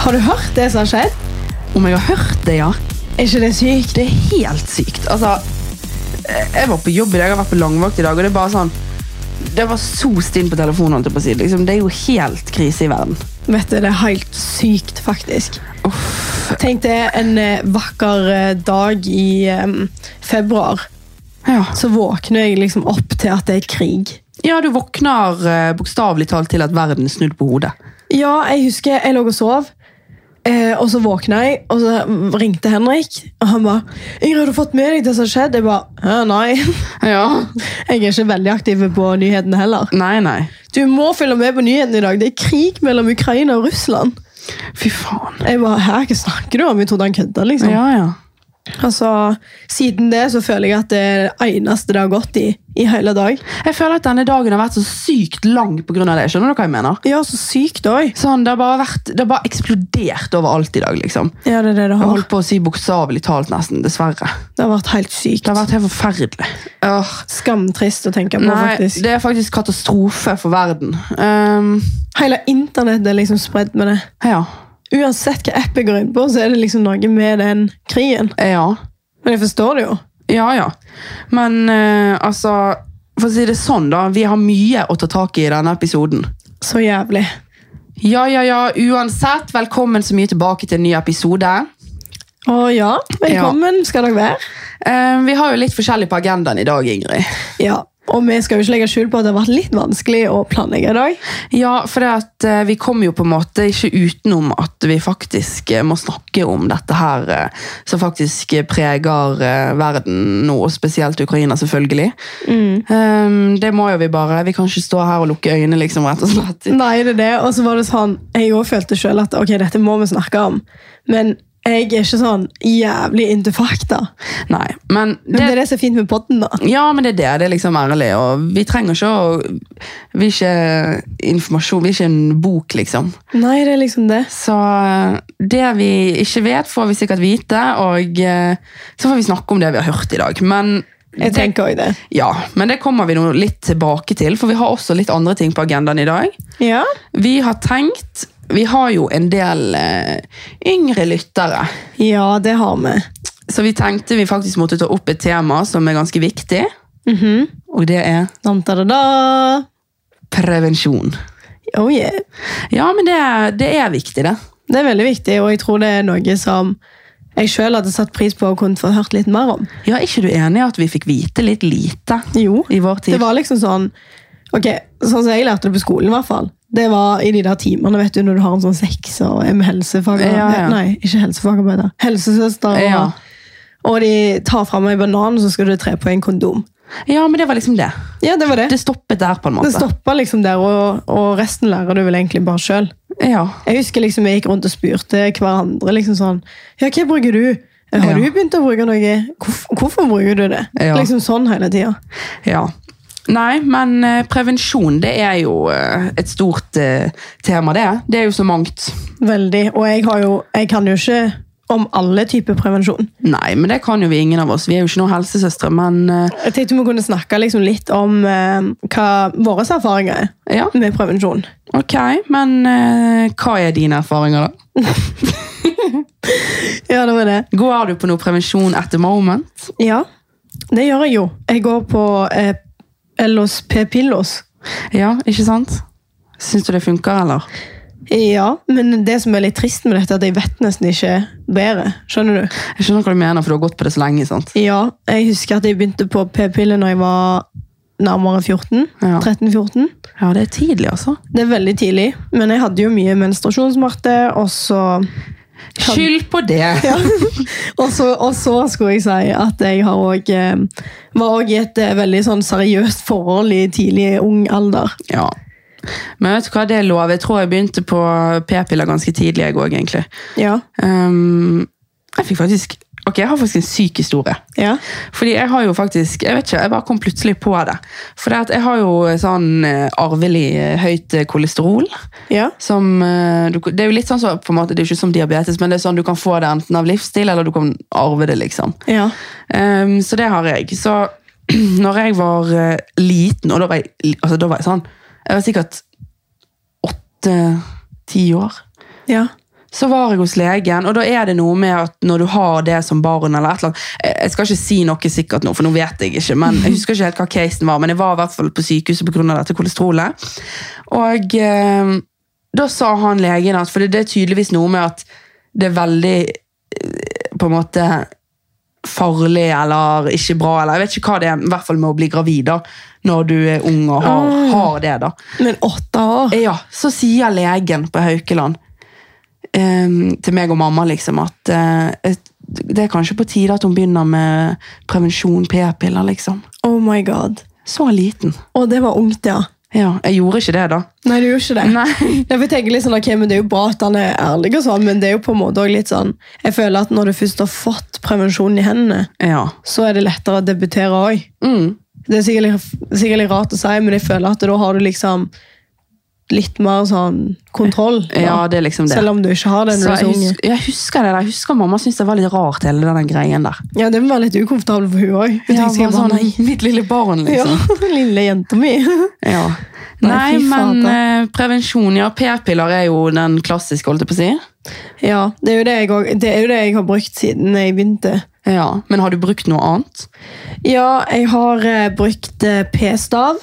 Har du hørt det som har skjedd? Om jeg har hørt det, ja. Er ikke det sykt? Det er helt sykt. Altså, jeg var på jobb i dag, jeg har vært på langvakt i dag, og det er bare sånn Det var så stinn på telefonen. holdt jeg på å si. Liksom, det er jo helt krise i verden. Vet du, det er helt sykt, faktisk. Tenk det en eh, vakker eh, dag i em, februar. Ja. Så våkner jeg liksom opp til at det er krig. ja, du våkner eh, bokstavelig talt til at verden er snudd på hodet. Ja, jeg husker jeg lå og sov. Eh, og så våkna jeg, og så ringte Henrik. Og han bare 'Ingrid, har du fått med deg det som har skjedd?' Jeg bare «Hæ, 'Nei, Ja. jeg er ikke veldig aktiv på nyhetene heller'. Nei, nei. Du må følge med på nyhetene i dag. Det er krig mellom Ukraina og Russland. Fy faen. Jeg bare 'Hæ, hva snakker du om?' Jeg trodde han kødda. liksom. Ja, ja. Altså, siden det så føler jeg at det er det eneste det har gått i i hele dag. Jeg føler at denne dagen har vært så sykt lang pga. det. Skjønner du hva jeg mener? Ja, så sykt òg. Sånn, det har bare vært, det har bare eksplodert overalt i dag, liksom. Ja, det er det det Jeg har. holdt på å si bokstavelig talt, nesten. Dessverre. Det Det har vært helt sykt. har vært helt forferdelig. Åh, Skamtrist å tenke på, nei, faktisk. det er faktisk katastrofe for verden. Ehm, Hele internettet er liksom spredd med det. ja. Uansett hva app jeg går inn på, så er det liksom noe med den krigen. Ja. Men jeg forstår det jo. Ja, ja. Men eh, altså For å si det sånn, da. Vi har mye å ta tak i i denne episoden. Så jævlig. Ja, ja, ja. Uansett, velkommen så mye tilbake til en ny episode. Å ja, velkommen skal dere være. Eh, vi har jo litt forskjellig på agendaen i dag, Ingrid. Ja, Og vi skal jo ikke legge skjul på at det har vært litt vanskelig å planlegge i dag. Ja, for det at eh, vi kommer jo på en måte ikke utenom at vi faktisk eh, må snakke om dette her eh, som faktisk eh, preger eh, verden nå, og spesielt Ukraina selvfølgelig. Eh, det må jo vi bare, vi kan ikke stå her og lukke øynene liksom rett og slett. Nei, det er det. Og så var det sånn, jeg også følte selv at ok, dette må vi snakke om. Men jeg er ikke sånn jævlig into fakta. Nei, men Men det, det, er det som er fint med podden, da. ja, men det er det, det er liksom ærlig, og vi trenger ikke, å, vi er ikke informasjon, vi er ikke en bok liksom. Nei, det er liksom det. Så eh, det vi ikke vet, får vi sikkert vite, og eh, så får vi snakke om det vi har hørt i dag. Men, Jeg det, tenker også det. ja, men det kommer vi nå litt tilbake til, for vi har også litt andre ting på agendaen i dag. Ja, Vi har tenkt Vi har jo en del eh, yngre lyttere, ja det har vi. så vi tenkte vi faktisk måtte ta opp et tema som er ganske viktig, Mhm. og det er Da-da-da. prevensjon. Oh yeah. Ja, men det, det er viktig, det. Det er veldig viktig, og jeg tror det er noe som jeg selv hadde satt pris på å kunne få hørt litt mer om. Ja, Er ikke du enig i at vi fikk vite litt lite Jo, i vår tid? det var liksom sånn, ok, sånn som jeg lærte det på skolen i hvert fall. Det var i de der timene, vet du, når du har en sånn seks og er med helsefagarbeid. Ja, ja. Nei, ikke helsefagarbeider. Helsesøster. Og, Ja. og de tar frem en banan, så skal du tre på en kondom. Ja, men det var liksom det. Ja, det var det. Det stoppet der, på en måte. Det stopper liksom der, og, og resten lærer du vel egentlig bare selv. Ja. Jeg husker liksom jeg gikk rundt og spurte hverandre liksom sånn Ja, hva bruker du? Har Ja. du begynt å bruke noe? Hvorfor, hvorfor bruker du det? Ja. Liksom sånn hele tida. ja. Nei, men eh, prevensjon det er jo eh, et stort eh, tema, det. Det er jo så mangt. Veldig. Og jeg har jo Jeg kan jo ikke om alle typer prevensjon. Nei, men det kan jo vi ingen av oss. Vi er jo ikke noen helsesøstre, men eh, Jeg tenkte vi kunne snakke liksom litt om eh, hva våre erfaringer er ja. med prevensjon. Ok, men eh, hva er dine erfaringer, da? Ja, det var det. Går du på noe prevensjon at the moment? Ja, det gjør jeg jo. Jeg går på eh, Ellos p-pillos. Ja, ikke sant? Syns du det funker, eller? Ja, men det som er litt trist med dette, er at jeg vet nesten ikke bedre. Skjønner du? Jeg skjønner hva du mener, for du har gått på det så lenge. sant? Ja, jeg husker at jeg begynte på p-piller når jeg var nærmere 14. Ja. 13-14. Ja, det er tidlig, altså. Det er veldig tidlig, men jeg hadde jo mye menstruasjonssmerter, og så Kan- Skyld på det! ja. og, så, og så skulle jeg si at jeg har også, eh, var også i et eh, veldig sånn seriøst forhold i tidlig ung alder. Ja. Men vet du hva, det er lov. Jeg tror jeg begynte på p-piller ganske tidlig, jeg òg, egentlig. Ja. Ehm, jeg fikk faktisk Ok, jeg har faktisk en syk historie. Ja. Fordi jeg har jo faktisk Jeg vet ikke, jeg bare kom plutselig på det. For det at jeg har jo sånn eh, arvelig eh, høyt eh, kolesterol. ja. Som, eh, du, det er jo litt sånn så, på en måte, det er jo ikke som diabetes, men det er sånn du kan få det enten av livsstil, eller du kan arve det, liksom. Ja. Ehm, så det har jeg. Så når jeg var eh, liten, og da var jeg, li- altså, da var jeg sånn Jeg var sikkert åtte-ti år. Ja. Så var jeg hos legen, og da er det noe med at når du har det som barn eller et eller annet, Jeg jeg skal ikke si noe sikkert nå, for nå vet jeg ikke, men jeg husker ikke helt hva casen var, men jeg var i hvert fall på sykehuset pga. dette kolesterolet. Og eh, da sa han legen at For det det er tydeligvis noe med at det er veldig eh, på en måte farlig eller ikke bra, eller jeg vet ikke hva det er, i hvert fall med å bli gravid da, når du er ung og har, har det da. Men åtte år? Ja, så sier legen på Haukeland eh, til meg og mamma liksom at eh, et- det er kanskje på tide at hun begynner med prevensjon, p-piller liksom. Oh my god. Så liten. Og det var ungt, ja. Ja, jeg gjorde ikke det da. Nei, du gjorde ikke det. Nei. Ja, for jeg tenker litt sånn, ok, men Det er jo bra at han er ærlig, og sånn, men det er jo på en måte også litt sånn Jeg føler at når du først har fått prevensjon i hendene, Ja. så er det lettere å debutere òg. Mm. Det er sikkert litt, sikkert litt rart å si, men jeg føler at da har du liksom litt mer sånn kontroll. da. Ja, det er liksom det. Selv om du ikke har det Så når du jeg, er så ung. husker, jeg husker det der. Jeg husker mamma syntes det var litt rart hele den greien der. Ja, det må være litt ukomfortabel for hun òg. Hun Ja, tenker sikkert bare bare nei. sånn, mitt lille barn Ja, liksom. lille jenta mi. Ja. Nei, Nei, fy men fader. eh, prevensjon, ja. P-piller er jo den klassiske, holdt jeg på å si. Ja, det er, jo det, jeg, også- det er jo det jeg har brukt siden jeg begynte. Ja, Men har du brukt noe annet? Ja, jeg har eh, brukt eh, p-stav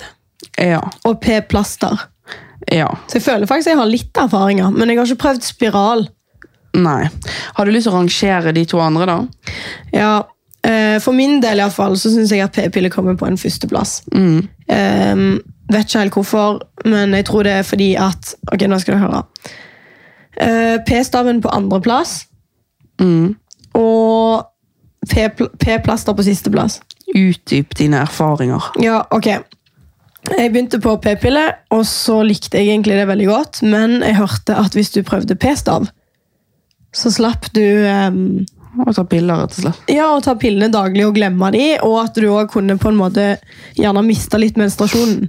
Ja. og p-plaster. ja. Så jeg føler faktisk jeg har litt erfaringer, men jeg har ikke prøvd spiral. Nei. Har du lyst til å rangere de to andre, da? Ja, eh, For min del i hvert fall, så syns jeg at p-piller kommer på en førsteplass. Mm. Ehm, vet ikke helt hvorfor, men jeg tror det er fordi at Ok, nå skal du høre. Eh, P-staven på andreplass Mm. og P-pl- p-plaster på sisteplass. Utdyp dine erfaringer. Ja, ok. Jeg begynte på p-pille, og så likte jeg egentlig det veldig godt, men jeg hørte at hvis du prøvde p-stav, så slapp du ehm, Og ta piller, rett og slett. Ja, å ta pillene daglig og glemme de, og at du òg kunne på en måte gjerne miste litt menstruasjonen.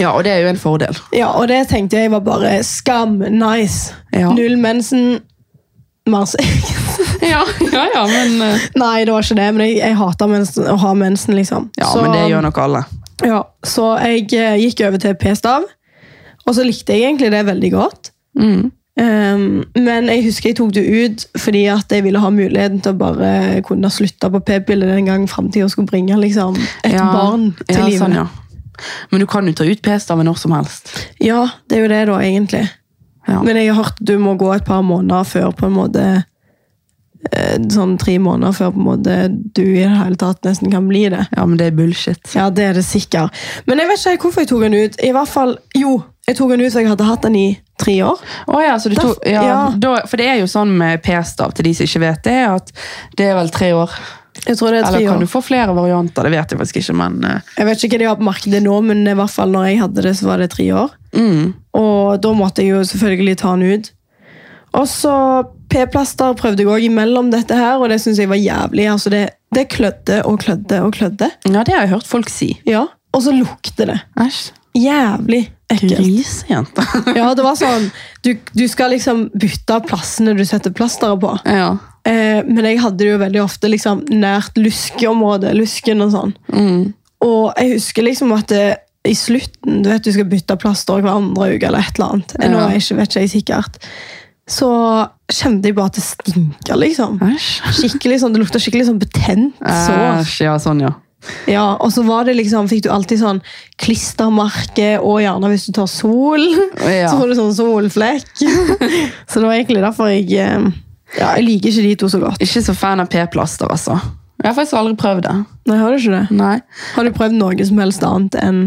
Ja, og det er jo en fordel. Ja, og det tenkte jeg var bare skam, nice. Ja. Null mensen, mer sex. Ja, ja, ja men eh, Nei, det var ikke det, men jeg, jeg hater mensen, å ha mensen, liksom. Ja, så, men det gjør nok alle. Ja, så jeg eh, gikk over til p-stav, og så likte jeg egentlig det veldig godt. Mm. Ehm, men jeg husker jeg tok det ut fordi at jeg ville ha muligheten til å bare kunne slutte på p-piller den gang framtida skulle bringe liksom, et Ja. barn til ja, livet. Sånn, ja. Men du kan jo ta ut p-staven når som helst. Ja, det er jo det, da, egentlig. Ja. Men jeg har hørt du må gå et par måneder før på en måte eh, Sånn tre måneder før på en måte du i det hele tatt nesten kan bli det. Ja, men det er bullshit. Ja, det er det sikkert. Men jeg vet ikke helt hvorfor jeg tok den ut. I hvert fall, Jo, jeg tok den ut for jeg hadde hatt den i tre år. Å ja, så du Da- tok, ja, ja. Da, for det er jo sånn med p-stav til de som ikke vet det, at det er vel tre år. Jeg tror det er tre Eller kan år. du få flere varianter, det vet jeg faktisk ikke, men eh, Jeg vet ikke hva de har på markedet nå, men i hvert fall når jeg hadde det, så var det tre år. mm, Og da måtte jeg jo selvfølgelig ta den ut. Og så p-plaster prøvde jeg òg imellom dette her, og det syns jeg var jævlig. Altså det, det klødde og klødde og klødde. Ja, det har jeg hørt folk si. Ja, Og så lukter det. Æsj. Jævlig ekkelt. Grisejente. Ja, det var sånn, du, du skal liksom bytte av plassene du setter plasteret på. ja. Eh, men jeg hadde det jo veldig ofte liksom, nært luskeområdet. Lusken og sånn. Mm. Og jeg husker liksom at det, i slutten Du vet du skal bytte plaster hver andre uke eller et eller annet. Ja. Nå er jeg ikke, vet ikke jeg sikkert. Så kjente jeg bare at det stinker, liksom. Æsj. Skikkelig sånn, Det lukta skikkelig sånn betent sår. Æsj, ja, sånn, ja. Ja, og så var det liksom, fikk du alltid sånn klistermerke, og gjerne hvis du tar sol, Ja. så får du sånn solflekk. så det var egentlig derfor jeg eh, ja, Jeg liker ikke de to så godt. Ikke så fan av p-plaster, altså. Jeg har faktisk aldri prøvd det. Nei, Har du ikke det? Nei. Har du prøvd noe som helst annet enn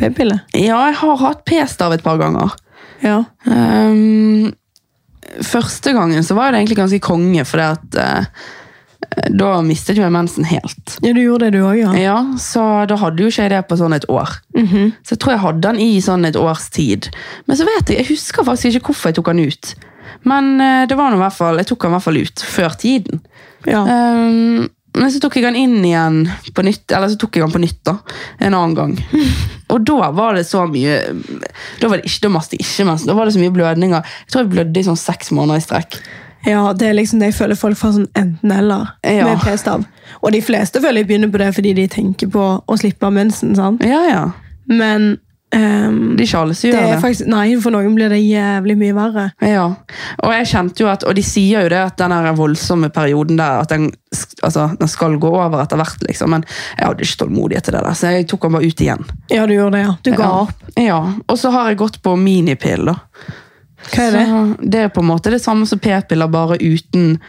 p-pille? Ja, jeg har hatt p-stav et par ganger. Ja. Ehm, første gangen så var det egentlig ganske konge, for det at eh, da mistet jo jeg mensen helt. ja, du gjorde det du òg, ja. Ja, så da hadde jo ikke jeg det på sånn et år. Mhm. Så jeg tror jeg hadde den i sånn et års tid. Men så vet jeg, jeg husker faktisk ikke hvorfor jeg tok den ut. Men eh, det var nå i hvert fall, jeg tok den i hvert fall ut før tiden. ja. Ehm, men så tok jeg den inn igjen på nytt, eller så tok jeg den på nytt da, en annen gang. Og da var det så mye, da var det ikke, da maste jeg ikke mensen, da var det så mye blødninger. Jeg tror jeg blødde i sånn seks måneder i strekk. Ja, det er liksom det jeg føler folk får sånn enten-eller Ja. med p-stav. Og de fleste føler jeg begynner på det fordi de tenker på å slippe av mensen, sant? Ja, ja. Men Ehm, Det er ikke alle som det gjør er det. faktisk, nei, for noen blir det jævlig mye verre. Ja, og jeg kjente jo at, og de sier jo det at den her voldsomme perioden der, at den, sk- altså, den skal gå over etter hvert, liksom. men jeg hadde ikke tålmodighet til det der, så jeg tok den bare ut igjen. Ja, du gjorde det, ja. Du ga Ja. opp. Ja, og så har jeg gått på minipill da. Hva er det? Så det er på en måte det samme som p-piller, bare uten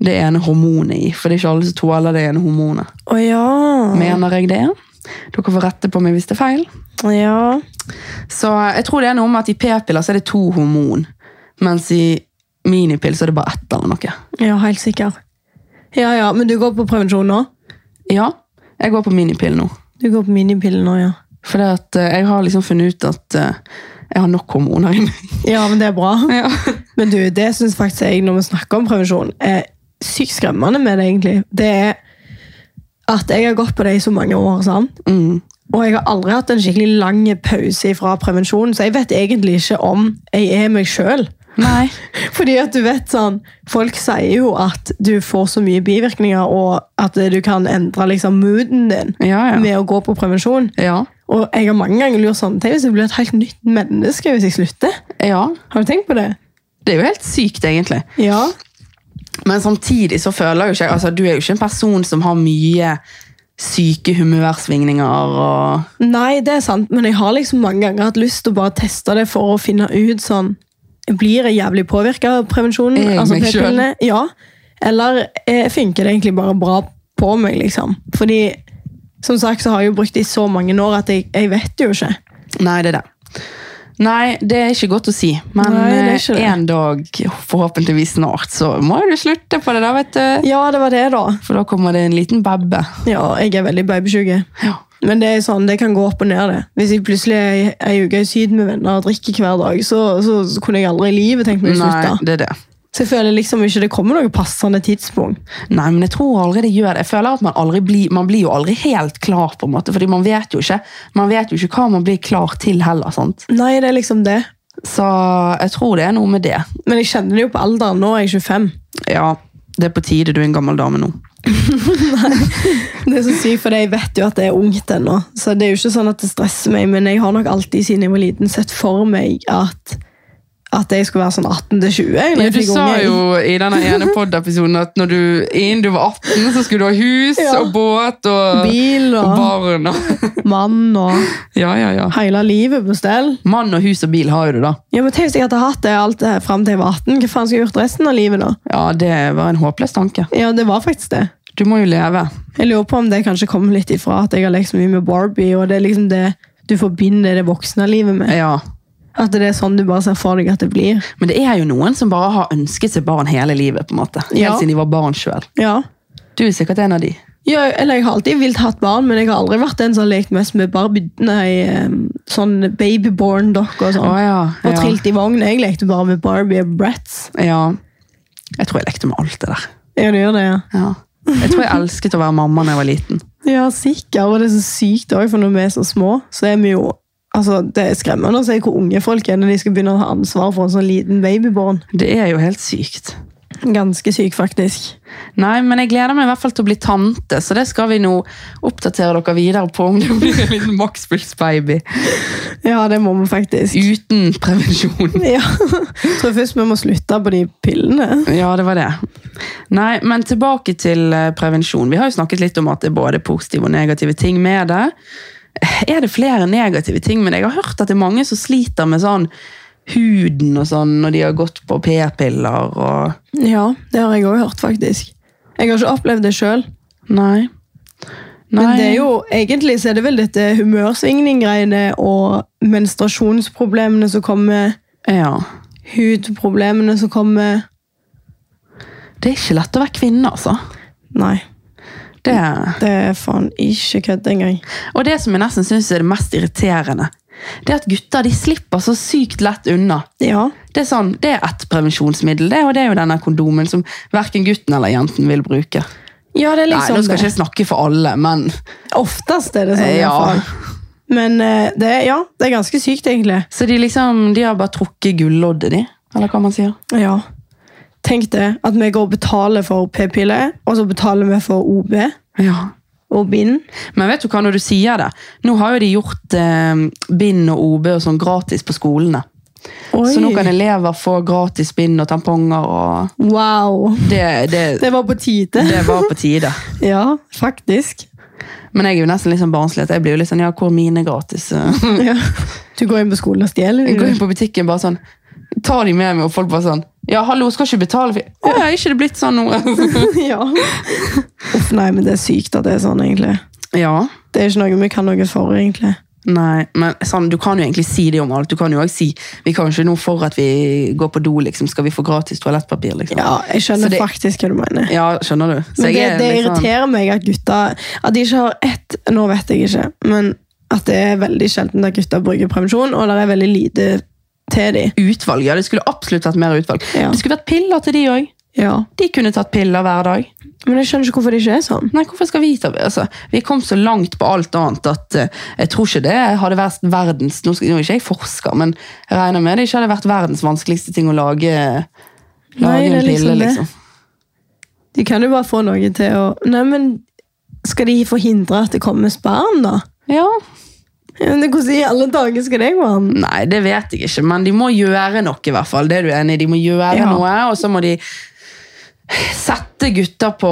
det ene hormonet i, for det er ikke alle som tåler det ene hormonet. Å ja. Mener jeg det? Dere får rette på meg hvis det er feil. ja. Så jeg tror det er noe med at i p-piller så er det to hormon, mens i minipill så er det bare ett eller noe. Ja, helt sikker. Ja, ja, men du går på prevensjon nå? Ja, jeg går på minipill nå. Du går på minipiller nå, ja. For jeg har liksom funnet ut at eh, jeg har nok hormoner i meg. Ja, men det er bra. Ja. Men du, det synes faktisk jeg, når vi snakker om prevensjon, er sykt skremmende med det, egentlig. Det er at jeg har gått på det i så mange år, sant? Mm. Og jeg har aldri hatt en skikkelig lang pause fra prevensjon, så jeg vet egentlig ikke om jeg er meg selv. Nei. Fordi at du vet sånn, folk sier jo at du får så mye bivirkninger, og at du kan endre liksom mooden din Ja, ja. med å gå på prevensjon. Ja, Og jeg har mange ganger lurt sånn, tenk hvis jeg blir et helt nytt menneske hvis jeg slutter. ja. Har du tenkt på det? Det er jo helt sykt, egentlig. Ja. Men samtidig så føler jeg jo ikke altså, Du er jo ikke en person som har mye syke humørsvingninger og Nei, det er sant, men jeg har liksom mange ganger hatt lyst til å bare teste det for å finne ut sånn Blir jeg jævlig påvirka av prevensjonen? Er jeg meg p-pillene? Ja. Eller eh, funker det egentlig bare bra på meg, liksom? Fordi som sagt så har jeg jo brukt det i så mange år at jeg, jeg vet jo ikke. Nei, det er det. Nei, det er ikke godt å si. Men Nei, det er eh, ikke det. en dag, forhåpentligvis snart, så må du slutte på det, da, vet du. Ja, det var det, da. For da kommer det en liten babbe. Ja, jeg er veldig babysjuk. Ja. Men det er sånn, det kan gå opp og ned det. Hvis jeg plutselig er i- er i uke i syden med venner og drikker hver dag, så, så, så kunne jeg aldri i livet tenkt meg å Nei, slutte. det er det. Så jeg føler liksom ikke det kommer noe passende tidspunkt. Nei, men jeg tror aldri det gjør det. Jeg føler at man aldri blir, man blir jo aldri helt klar, på en måte, fordi man vet jo ikke, man vet jo ikke hva man blir klar til heller. sant? Nei, det er liksom det. Så jeg tror det er noe med det. Men jeg kjenner det jo på alderen. Nå er jeg 25. Ja, det er på tide du er en gammel dame nå. Det er så sykt, for jeg vet jo at det er ungt ennå. Så det er jo ikke sånn at det stresser meg, men jeg har nok alltid siden jeg var liten sett for meg at, at jeg skulle være sånn 18 til 20. når jeg du fikk sa unge. jo i denne ene pod-episoden at når du, innen du var 18, så skulle du ha hus Ja. og båt og, Bil og og barn. Og, mann og ja, ja, ja. hele livet på stell. Mann og hus og bil har jo du, da. Ja, men tenk hvis jeg hadde hatt det alt det her frem til jeg var 18. Hva faen skulle jeg gjort resten av livet da? Ja, det var en håpløs tanke. Ja, det var faktisk det. Du må jo leve. Jeg lurer på om det kanskje kommer litt ifra at jeg har lekt så mye med Barbie, og det er liksom det du forbinder det voksne livet med. Ja. At det er sånn du bare ser for deg at det blir. Men det er jo noen som bare har ønsket seg barn hele livet. på en måte. Helt Ja. siden de var barn selv. Ja. Du er sikkert en av de. ja eller jeg har alltid vilt hatt barn, men jeg har aldri vært den som har lekt mest med Barbie, nei, em, sånn babyborn-dokker og sånn. ja. Og ja. trilt i vogn. Jeg lekte bare med Barbie og Bratz. ja. Jeg tror jeg lekte med alt det der. Ja, du gjør det, ja. Ja. Jeg tror jeg elsket å være mamma da jeg var liten. Ja, sikkert. Og det er så sykt òg, for når vi er så små, så er vi jo Altså, Det er skremmende å se hvor unge folk er når de skal begynne å ha ansvar for en sånn liten babyborn. Det er jo helt sykt. Ganske syk, faktisk. Nei, men jeg gleder meg i hvert fall til å bli tante, så det skal vi nå oppdatere dere videre på om det blir en liten Maxpuls-baby Ja, det må vi faktisk. uten prevensjon. Ja. Jeg tror først vi må slutte på de pillene. Ja, det var det. Nei, men tilbake til eh, prevensjon. Vi har jo snakket litt om at det er både positive og negative ting med det. Er det flere negative ting? Men jeg har hørt at det er mange som sliter med sånn huden og sånn når de har gått på p-piller og Ja, det har jeg òg hørt, faktisk. Jeg har ikke opplevd det sjøl. Nei. Men det er jo, egentlig så er det vel dette humørsvingning-greiene og menstruasjonsproblemene som kommer, Ja. hudproblemene som kommer Det er ikke lett å være kvinne, altså. Nei. Det er Det er faen ikke kødd engang. Og det som jeg nesten syns er det mest irriterende, det er at gutter de slipper så sykt lett unna. Ja. Det er sånn, det er ett prevensjonsmiddel, det, og det er jo denne kondomen som verken gutten eller jenten vil bruke. ja, det er liksom Nei, nå skal det. ikke jeg snakke for alle, men Oftest er det sånn. i Ja. hvert fall. Men eh, det, er- ja, det er ganske sykt, egentlig. Så de liksom, de har bare trukket gulloddet, de. Eller hva man sier. Ja. Tenk det, at vi går og betaler for p-piller, og så betaler vi for OB. Ja. og bind. Men vet du hva, når du sier det, nå har jo de gjort eh, bind og OB og sånn gratis på skolene. Så nå kan elever få gratis bind og tamponger og Wow! det, det, Det var på tide. det var på tide. Ja, faktisk. Men jeg er jo nesten litt sånn barnslig. at Jeg blir jo litt sånn, ja, hvor er mine gratis? Jeg Ja. Du går inn på skolen og stjeler? Mm. går du? inn på butikken bare sånn, tar de med meg, og folk bare sånn, ja, hallo, skal ikke betale? for- Å, ja, er ikke det blitt sånn nå? ja. Uff, nei, men det er sykt at det er sånn, egentlig. ja, Det er ikke noe vi kan noe for, egentlig. Nei, men sånn, du kan jo egentlig si det om alt. Du kan jo også si Vi kan jo ikke nå for at vi går på do, liksom. Skal vi få gratis toalettpapir, liksom? Ja, jeg Så skjønner det- faktisk hva du mener. Ja, skjønner du? Så Men det, jeg er det litt sånn- irriterer meg at gutta At de ikke har ett Nå vet jeg ikke, men at det er veldig sjelden at gutta bruker prevensjon, og det er veldig lite til de. sånn Utvalg, ja. Det skulle absolutt vært mer utvalg. Ja. Det skulle vært piller til de òg. Ja. De kunne tatt piller hver dag. Men jeg skjønner ikke hvorfor det ikke er sånn. Nei, hvorfor skal vi ta altså, Vi kom så langt på alt annet at eh, jeg tror ikke det hadde vært verdens Nå, skal, nå er ikke jeg forsker, men jeg regner med det ikke hadde vært verdens vanskeligste ting å lage, eh, lage Nei, det en er pille, liksom det. liksom. De kan jo bare få noe til å Nei, men skal de forhindre at det kommer sperm, da? Ja. Ja, men Hvordan i alle dager skal det gå an? Nei, det vet jeg ikke, men de må gjøre noe i hvert fall. Det er du enig i? De må gjøre Ja. noe, og så må de sette gutter på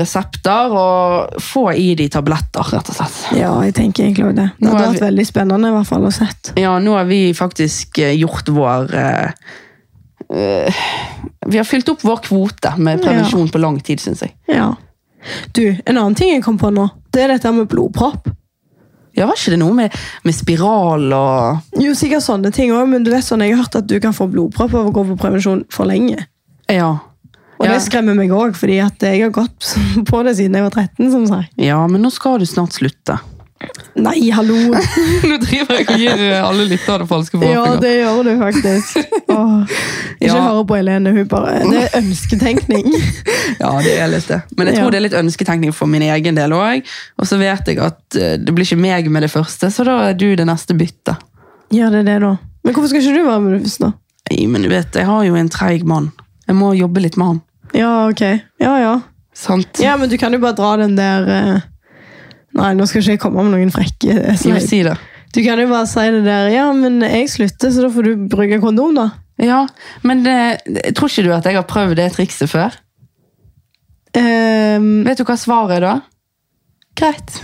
resepter og få i de tabletter, rett og slett. Ja, jeg tenker egentlig også det. Det Nå er hadde vi- vært veldig spennende i hvert fall å sett. Ja, nå har vi faktisk eh, gjort vår eh, eh, Vi har fylt opp vår kvote med prevensjon på lang tid, syns jeg. Ja. Du, en annen ting jeg kom på nå, det er dette med blodpropp. Ja, Var ikke det noe med, med spiral og Jo, sikkert sånne ting òg, men du vet sånn, jeg har hørt at du kan få blodpropp av å gå på prevensjon for lenge. Ja. Og ja. det skremmer meg òg, fordi at jeg har gått på det siden jeg var 13. som sagt. ja, men nå skal du snart slutte. Nei, hallo! nå driver jeg og gir eh, alle lyttere falske Ja, det gjør du faktisk. Åh. Ikke Ja. høre på Helene, hun bare Det er ønsketenkning. Ja, det er litt det. Men jeg tror Ja. det er litt ønsketenkning for min egen del òg. Og så vet jeg at eh, det blir ikke meg med det første, så da er du det neste byttet. Ja, det er det, da. Men hvorfor skal ikke du være med det først, da? Nei, men du vet, jeg har jo en treig mann. Jeg må jobbe litt med han. Ja, ok. Ja, ja. Sant? Ja, men du kan jo bare dra den der eh, Nei, nå skal ikke jeg komme med noen frekke eh, Jo, sleip. si det. Du kan jo bare si det der Ja, men jeg slutter, så da får du bruke kondom, da. Ja, men det, jeg tror ikke du at jeg har prøvd det trikset før? Ehm, Vet du hva svaret er da? Greit.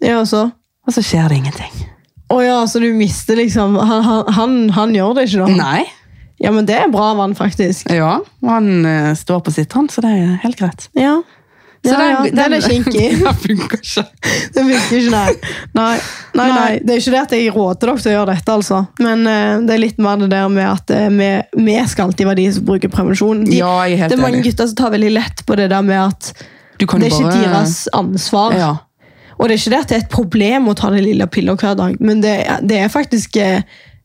ja, og så Og så skjer det ingenting. Å ja, så du mister liksom han, han, han, han gjør det ikke, da? Nei. Ja, men det er bra vann, faktisk. Ja, han eh, står på sitt, han, så det er helt greit. Ja. Så Ja, ja, den er kinky. den funker ikke. Det funker ikke, nei. Nei, nei, nei. Det er ikke det at jeg råder dere til å gjøre dette, altså. Men eh, det er litt mer det der med at eh, vi, vi skal alltid være de som bruker prevensjon. De, Ja, jeg er helt det er mange enig. gutter som tar veldig lett på det der med at Du kan det er jo ikke bare- deres ansvar. Ja. Og det er ikke det at det er et problem å ta den lille pilla hver dag, men det, er- det er faktisk eh,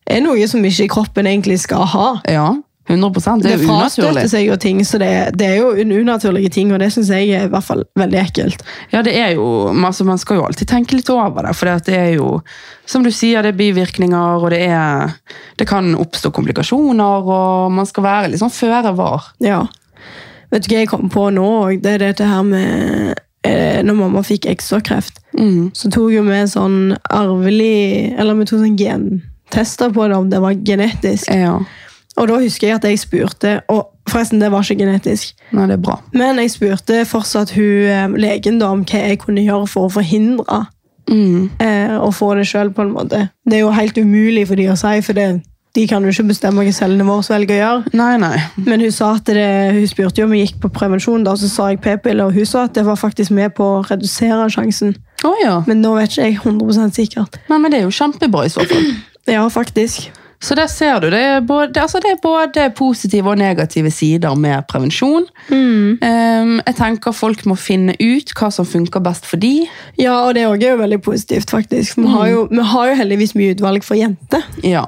er noe som ikke kroppen egentlig skal ha. ja, 100 Det Det, er jo unaturlig. frastøter seg jo ting, så det, det er jo en unaturlige ting, og det syns jeg er i hvert fall veldig ekkelt. Ja, det er jo, men altså, Man skal jo alltid tenke litt over det. For det at det er jo, som du sier, det er bivirkninger, og det, er, det kan oppstå komplikasjoner. og Man skal være litt sånn føre var. Ja. Vet du hva jeg kom på nå òg? Det er dette her med eh, Når mamma fikk ekstrakreft, så tok jo vi sånn arvelig Eller vi tok sånn gentester på det, om det var genetisk. Ja. Og da husker jeg at jeg spurte Og forresten, det var ikke genetisk. Nei, det er bra. Men jeg spurte fortsatt hun eh, legen da om hva jeg kunne gjøre for å forhindre eh, å få det sjøl, på en måte. Det er jo helt umulig for de å si, for det, de kan jo ikke bestemme hva cellene våre velger å gjøre. Nei, nei. Men hun sa at det, hun spurte jo om jeg gikk på prevensjon, da, så sa jeg p-piller, og hun sa at det var faktisk med på å redusere sjansen. Å ja. Men nå vet ikke jeg 100 sikkert. Nei, men det er jo kjempebra i så fall. Ja, faktisk. Så der ser du, det er både, altså det er både positive og negative sider med prevensjon. Ehm, jeg tenker folk må finne ut hva som funker best for de. Ja, og det òg er jo veldig positivt, faktisk. Vi har, jo, vi har jo heldigvis mye utvalg for jenter. Ja,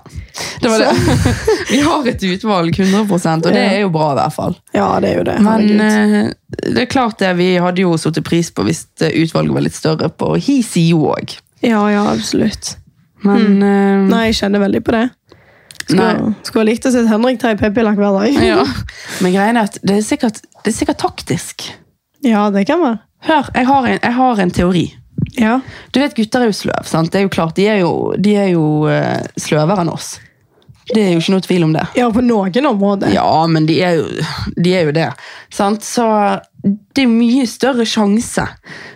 det var det. Vi har et utvalg, 100 og det er jo bra i hvert fall. Ja, det er jo det. Men herregud. eh, det er klart det, vi hadde jo satt pris på hvis eh, utvalget var litt større på Hisi jo òg. Ja, ja, absolutt. Men eh, Nei, jeg kjenner veldig på det. Skulle, skulle ha likt å se Henrik ta en p-piller hver dag. ja. Men greien er at det er sikkert, det er sikkert taktisk. Ja, det kan være. Hør, jeg har en, jeg har en teori. Ja. Du vet, gutter er jo sløv, sant? Det er jo klart, de er jo, de er jo eh, sløvere enn oss. Det er jo ikke noe tvil om det. ja, på noen områder. Ja, men de er jo, de er jo det. Sant? Så det er jo mye større sjanse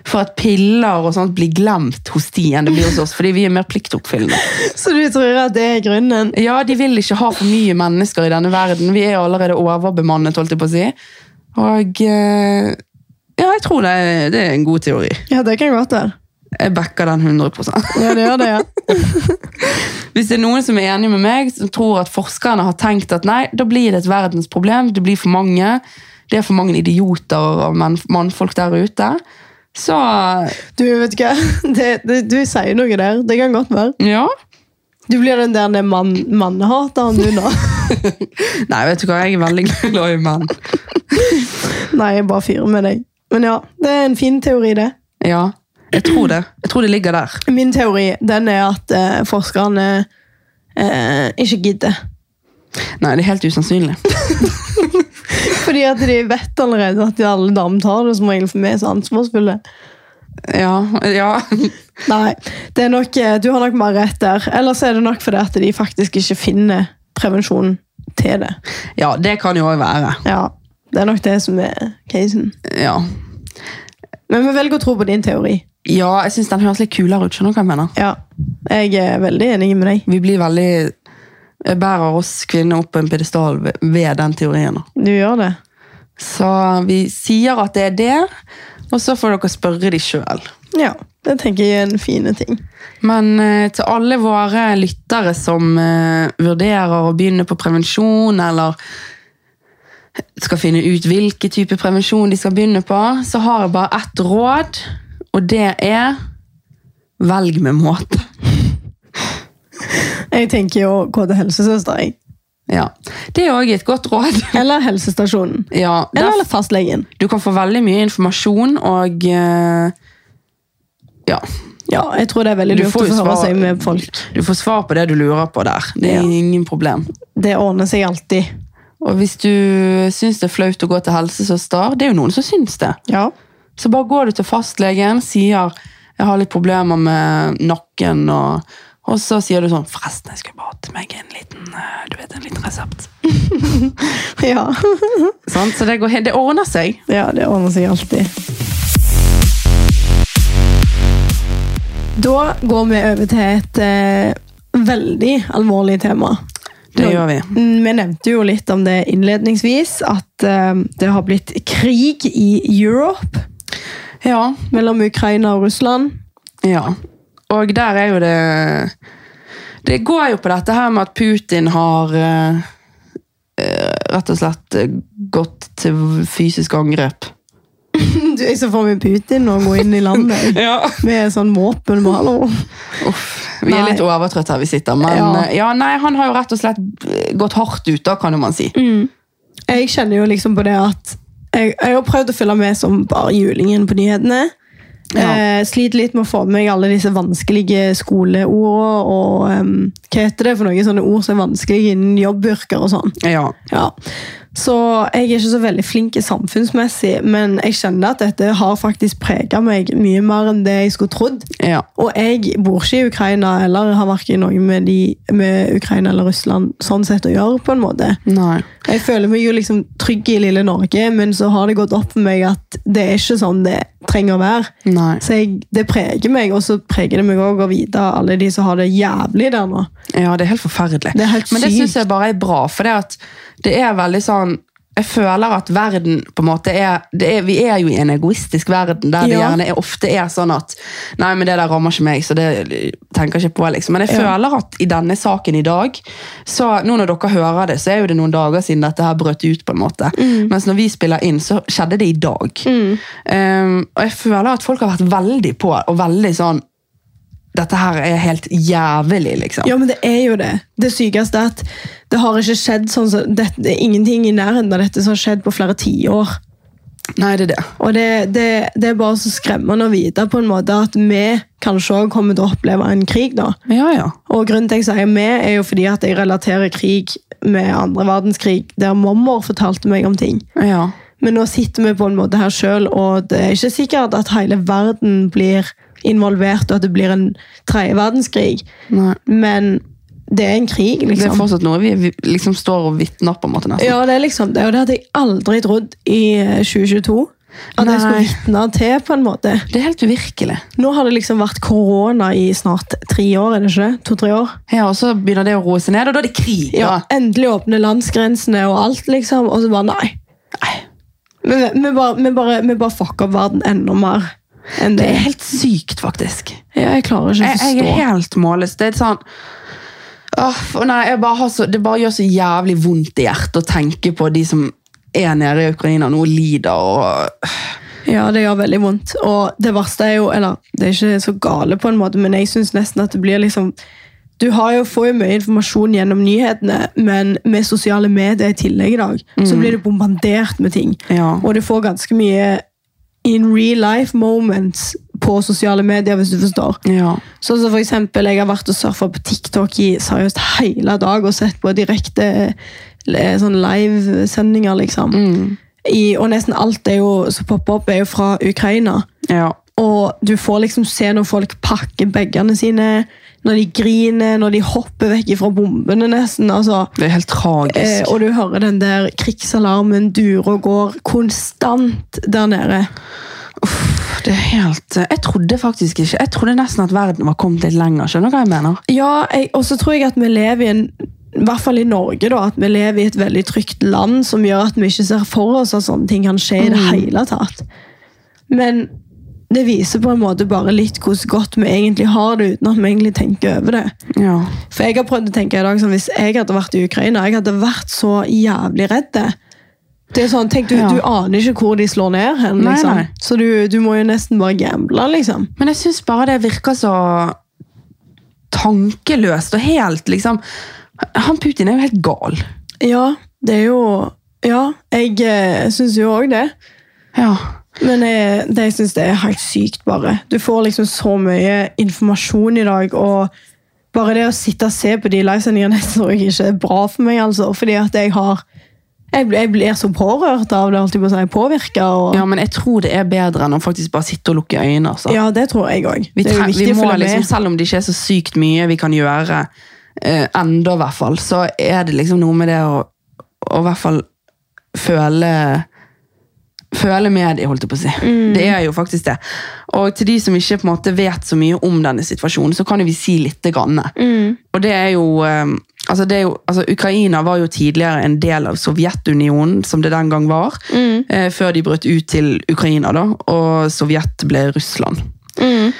for at piller og sånt blir glemt hos de enn det blir hos oss, fordi vi er mer pliktoppfyllende. Så du tror at det er grunnen? Ja, de vil ikke ha for mye mennesker i denne verden. Vi er jo allerede overbemannet, holdt jeg på å si. Og eh, ja, jeg tror det, er- det er en god teori. Ja, det kan godt være. Jeg backer den 100 Ja, det gjør det, ja. Hvis det er noen som er enig med meg, som tror at forskerne har tenkt at nei, da blir det et verdensproblem, det blir for mange, det er for mange idioter og menn- mannfolk der ute, så Du, vet du hva? Det, det, du sier noe der. Det kan godt være. ja. Du blir den der den mann, mannehateren du nå. Nei, vet du hva, jeg er veldig glad i menn. Nei, jeg bare fyrer med deg. Men ja, det er en fin teori, det. Ja, jeg tror det. Jeg tror det ligger der. Min teori den er at eh, forskerne eh, ikke gidder. Nei, det er helt usannsynlig. Fordi at de vet allerede at alle damer tar det som regel for meg, så ansvarsfulle. Ja, ja. Nei, det er nok, eh, du har nok mer rett der. Ellers er det nok fordi at de faktisk ikke finner prevensjon til det. ja det kan jo også være. Ja, Det er nok det som er casen. Ja. Men vi velger å tro på din teori. ja, jeg synes den høres litt kulere ut, skjønner du hva jeg mener? Ja, jeg er veldig enig med deg. Vi blir veldig... Jeg bærer oss kvinner opp på en pedestal ved- ved den teorien da. Du gjør det. Så vi sier at det er det, og så får dere spørre de sjøl. Ja, det tenker jeg er en fine ting. Men eh, til alle våre lyttere som eh, vurderer å begynne på prevensjon, eller skal finne ut hvilke type prevensjon de skal begynne på, så har jeg bare ett råd, og det er velg med måte. Jeg tenker jo å gå til helsesøster, jeg. Ja. Det er òg et godt råd. Eller helsestasjonen. Ja, der- Eller fastlegen. du kan få veldig mye informasjon, og eh, ja. Ja, jeg tror det er veldig Du lurt får å jo forhøre svar- seg med folk. Du får svar på det du lurer på der. Det Ja. er ingen problem. Det ordner seg alltid. Og hvis du syns det er flaut å gå til helsesøster, det er jo noen som syns det, Ja. så bare går du til fastlegen, sier 'jeg har litt problemer med nakken', og, og så sier du sånn 'forresten, jeg skulle bare hatt meg en liten eh, du vet, en liten resept'. Ja. Sant? Så det, går, he- det ordner seg. ja, det ordner seg alltid. Da går vi over til et eh, veldig alvorlig tema. Det Nå- gjør vi. Mm, Vi nevnte jo litt om det innledningsvis, at eh, det har blitt krig i Europe Ja. mellom Ukraina og Russland. ja. Og der er jo det Det går jo på dette her med at Putin har eh, eh, rett og slett eh, gått til fysisk angrep. Du, jeg så for meg Putin og gå inn i landet Ja. med sånn våpen. og Hallo. Uff, vi er Nei. litt overtrøtte her vi sitter, men Ja. eh, ja, nei, han har jo rett og slett eh, gått hardt ut, da, kan jo man si. Mm. Jeg kjenner jo liksom på det at jeg, jeg har prøvd å følge med som bare julingen på nyhetene. Ja. Eh, sliter litt med å få med meg alle disse vanskelige skoleordene og em, hva heter det for noen sånne ord som er vanskelige innen jobbyrker og sånn. Ja. Ja. Så jeg er ikke så veldig flink i samfunnsmessig, men jeg kjenner at dette har faktisk prega meg mye mer enn det jeg skulle trodd. ja. Og jeg bor ikke i Ukraina, eller har verken noe med, de, med Ukraina eller Russland sånn sett å gjøre, på en måte. Nei. Jeg føler meg jo liksom trygg i lille Norge, men så har det gått opp for meg at det er ikke sånn det trenger å være. Nei. Så jeg, det preger meg, og så preger det meg òg å vite alle de som har det jævlig der nå. Ja, det er helt forferdelig. Det er helt Men det sykt. syns jeg bare er bra, for det, at det er veldig sånn jeg føler at verden på en måte er, det er Vi er jo i en egoistisk verden der det Ja. gjerne er, ofte er sånn at Nei, men det der rammer ikke meg, så det tenker jeg ikke på, liksom. Men jeg Ja. føler at i denne saken i dag, så nå når dere hører det, så er jo det noen dager siden dette her brøt ut, på en måte. Mm. Mens når vi spiller inn, så skjedde det i dag. Um, og jeg føler at folk har vært veldig på, og veldig sånn Dette her er helt jævlig, liksom. Ja, men det er jo det. Det sykeste er at det har ikke skjedd sånn som dette, det er ingenting i nærheten av dette som har skjedd på flere tiår. Nei, det er det. Og det, det, det er bare så skremmende å vite på en måte at vi kanskje også kommer til å oppleve en krig da. Ja, ja. Og grunnen til at jeg sier vi, er jo fordi at jeg relaterer krig med andre verdenskrig, der mormor fortalte meg om ting. ja. Men nå sitter vi på en måte her sjøl, og det er ikke sikkert at hele verden blir involvert, og at det blir en tredje verdenskrig. Nei. Men det er en krig, Det er liksom. fortsatt noe vi vi liksom står og vitner på en måte nesten. Ja, det er liksom det, og det hadde jeg aldri trodd i eh, 2022. At jeg Nei. skulle vitne til, på en måte. Det er helt uvirkelig. Nå har det liksom vært korona i snart tre år, er det ikke det? To-tre år. Ja, og så begynner det å roe seg ned, og da er det krig. Ja, da. Endelig åpne landsgrensene og alt, liksom. Og så bare nei. Nei. Vi, vi, bare, vi, bare, vi bare fucker opp verden enda mer enn Det det. er helt sykt, faktisk. Ja, jeg klarer ikke å Jeg, jeg forstå. er helt målløs. Det er sånn Åh, for- nei, jeg bare har så, Det bare gjør så jævlig vondt i hjertet å tenke på de som er nede i Ukraina nå, og lider og Ja, det gjør veldig vondt. Og det verste er jo Eller, det er ikke så gale, på en måte, men jeg syns nesten at det blir liksom Du har jo, får jo mye informasjon gjennom nyhetene, men med sosiale medier i tillegg i dag, så blir du bombardert med ting. Ja. Og du får ganske mye in real life moments på sosiale medier, hvis du forstår. ja. Sånn som for eksempel, Jeg har vært og surfa på TikTok i seriøst hele dag og sett på direkte eh, sånn livesendinger. liksom. I, og nesten alt er jo, som popper opp, er jo fra Ukraina. ja. Og du får liksom se når folk pakker bagene sine, når de griner, når de hopper vekk fra bombene, nesten. altså. Det er helt tragisk. Eh, og du hører den der krigsalarmen durer og går konstant der nede. Uff, det er helt eh, Jeg trodde faktisk ikke Jeg trodde nesten at verden var kommet litt lenger. Skjønner du hva jeg mener? Ja, jeg- og så tror jeg at vi lever i en i hvert fall i Norge, da, at vi lever i et veldig trygt land som gjør at vi ikke ser for oss at sånne ting kan skje i Mm. det hele tatt. Men det viser på en måte bare litt hvordan godt vi egentlig har det, uten at vi egentlig tenker over det. Ja. For jeg har prøvd å tenke i dag sånn, Hvis jeg hadde vært i Ukraina, jeg hadde vært så jævlig redd. Det er sånn, tenk, Du, Ja. du aner ikke hvor de slår ned hen, Nei, liksom. nei. så du, du må jo nesten bare gamble. liksom. Men jeg syns bare det virker så tankeløst og helt liksom Han Putin er jo helt gal. Ja, det er jo Ja, jeg eh, syns jo òg det. Ja. Men jeg, det jeg syns det er helt sykt, bare. Du får liksom så mye informasjon i dag, og bare det å sitte og se på de livesendingene jeg tror jeg ikke er bra for meg, altså. Fordi at jeg har Jeg, blir- jeg blir så pårørt av det, holdt jeg på å si. Påvirka og ja, men jeg tror det er bedre enn å faktisk bare sitte og lukke øynene. Altså. Ja, det tror jeg òg. Vi, Det er jo treng- viktig vi å må følge liksom, med. selv om det ikke er så sykt mye vi kan gjøre, eh, enda i hvert fall, så er det liksom noe med det å, å i hvert fall føle Føle med de, holdt jeg på å si. Mm. Det er jo faktisk det. Og til de som ikke på en måte vet så mye om denne situasjonen, så kan jo vi si litt. Grann. Mm. Og det er jo, eh, altså det er jo altså Ukraina var jo tidligere en del av Sovjetunionen, som det den gang var, Mm. eh, før de brøt ut til Ukraina, da, og Sovjet ble Russland. Mm.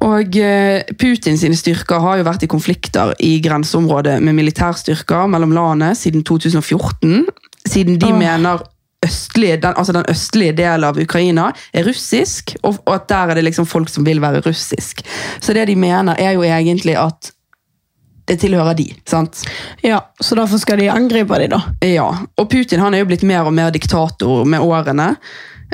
Og eh, Putin sine styrker har jo vært i konflikter i grenseområdet med militærstyrker mellom landene siden 2014, siden de Åh. mener østlige, den, altså den østlige delen av Ukraina er russisk, og, og at der er det liksom folk som vil være russisk. Så det de mener er jo egentlig at det tilhører de, sant? Ja, Så derfor skal de angripe de, da? Ja, og Putin han er jo blitt mer og mer diktator med årene.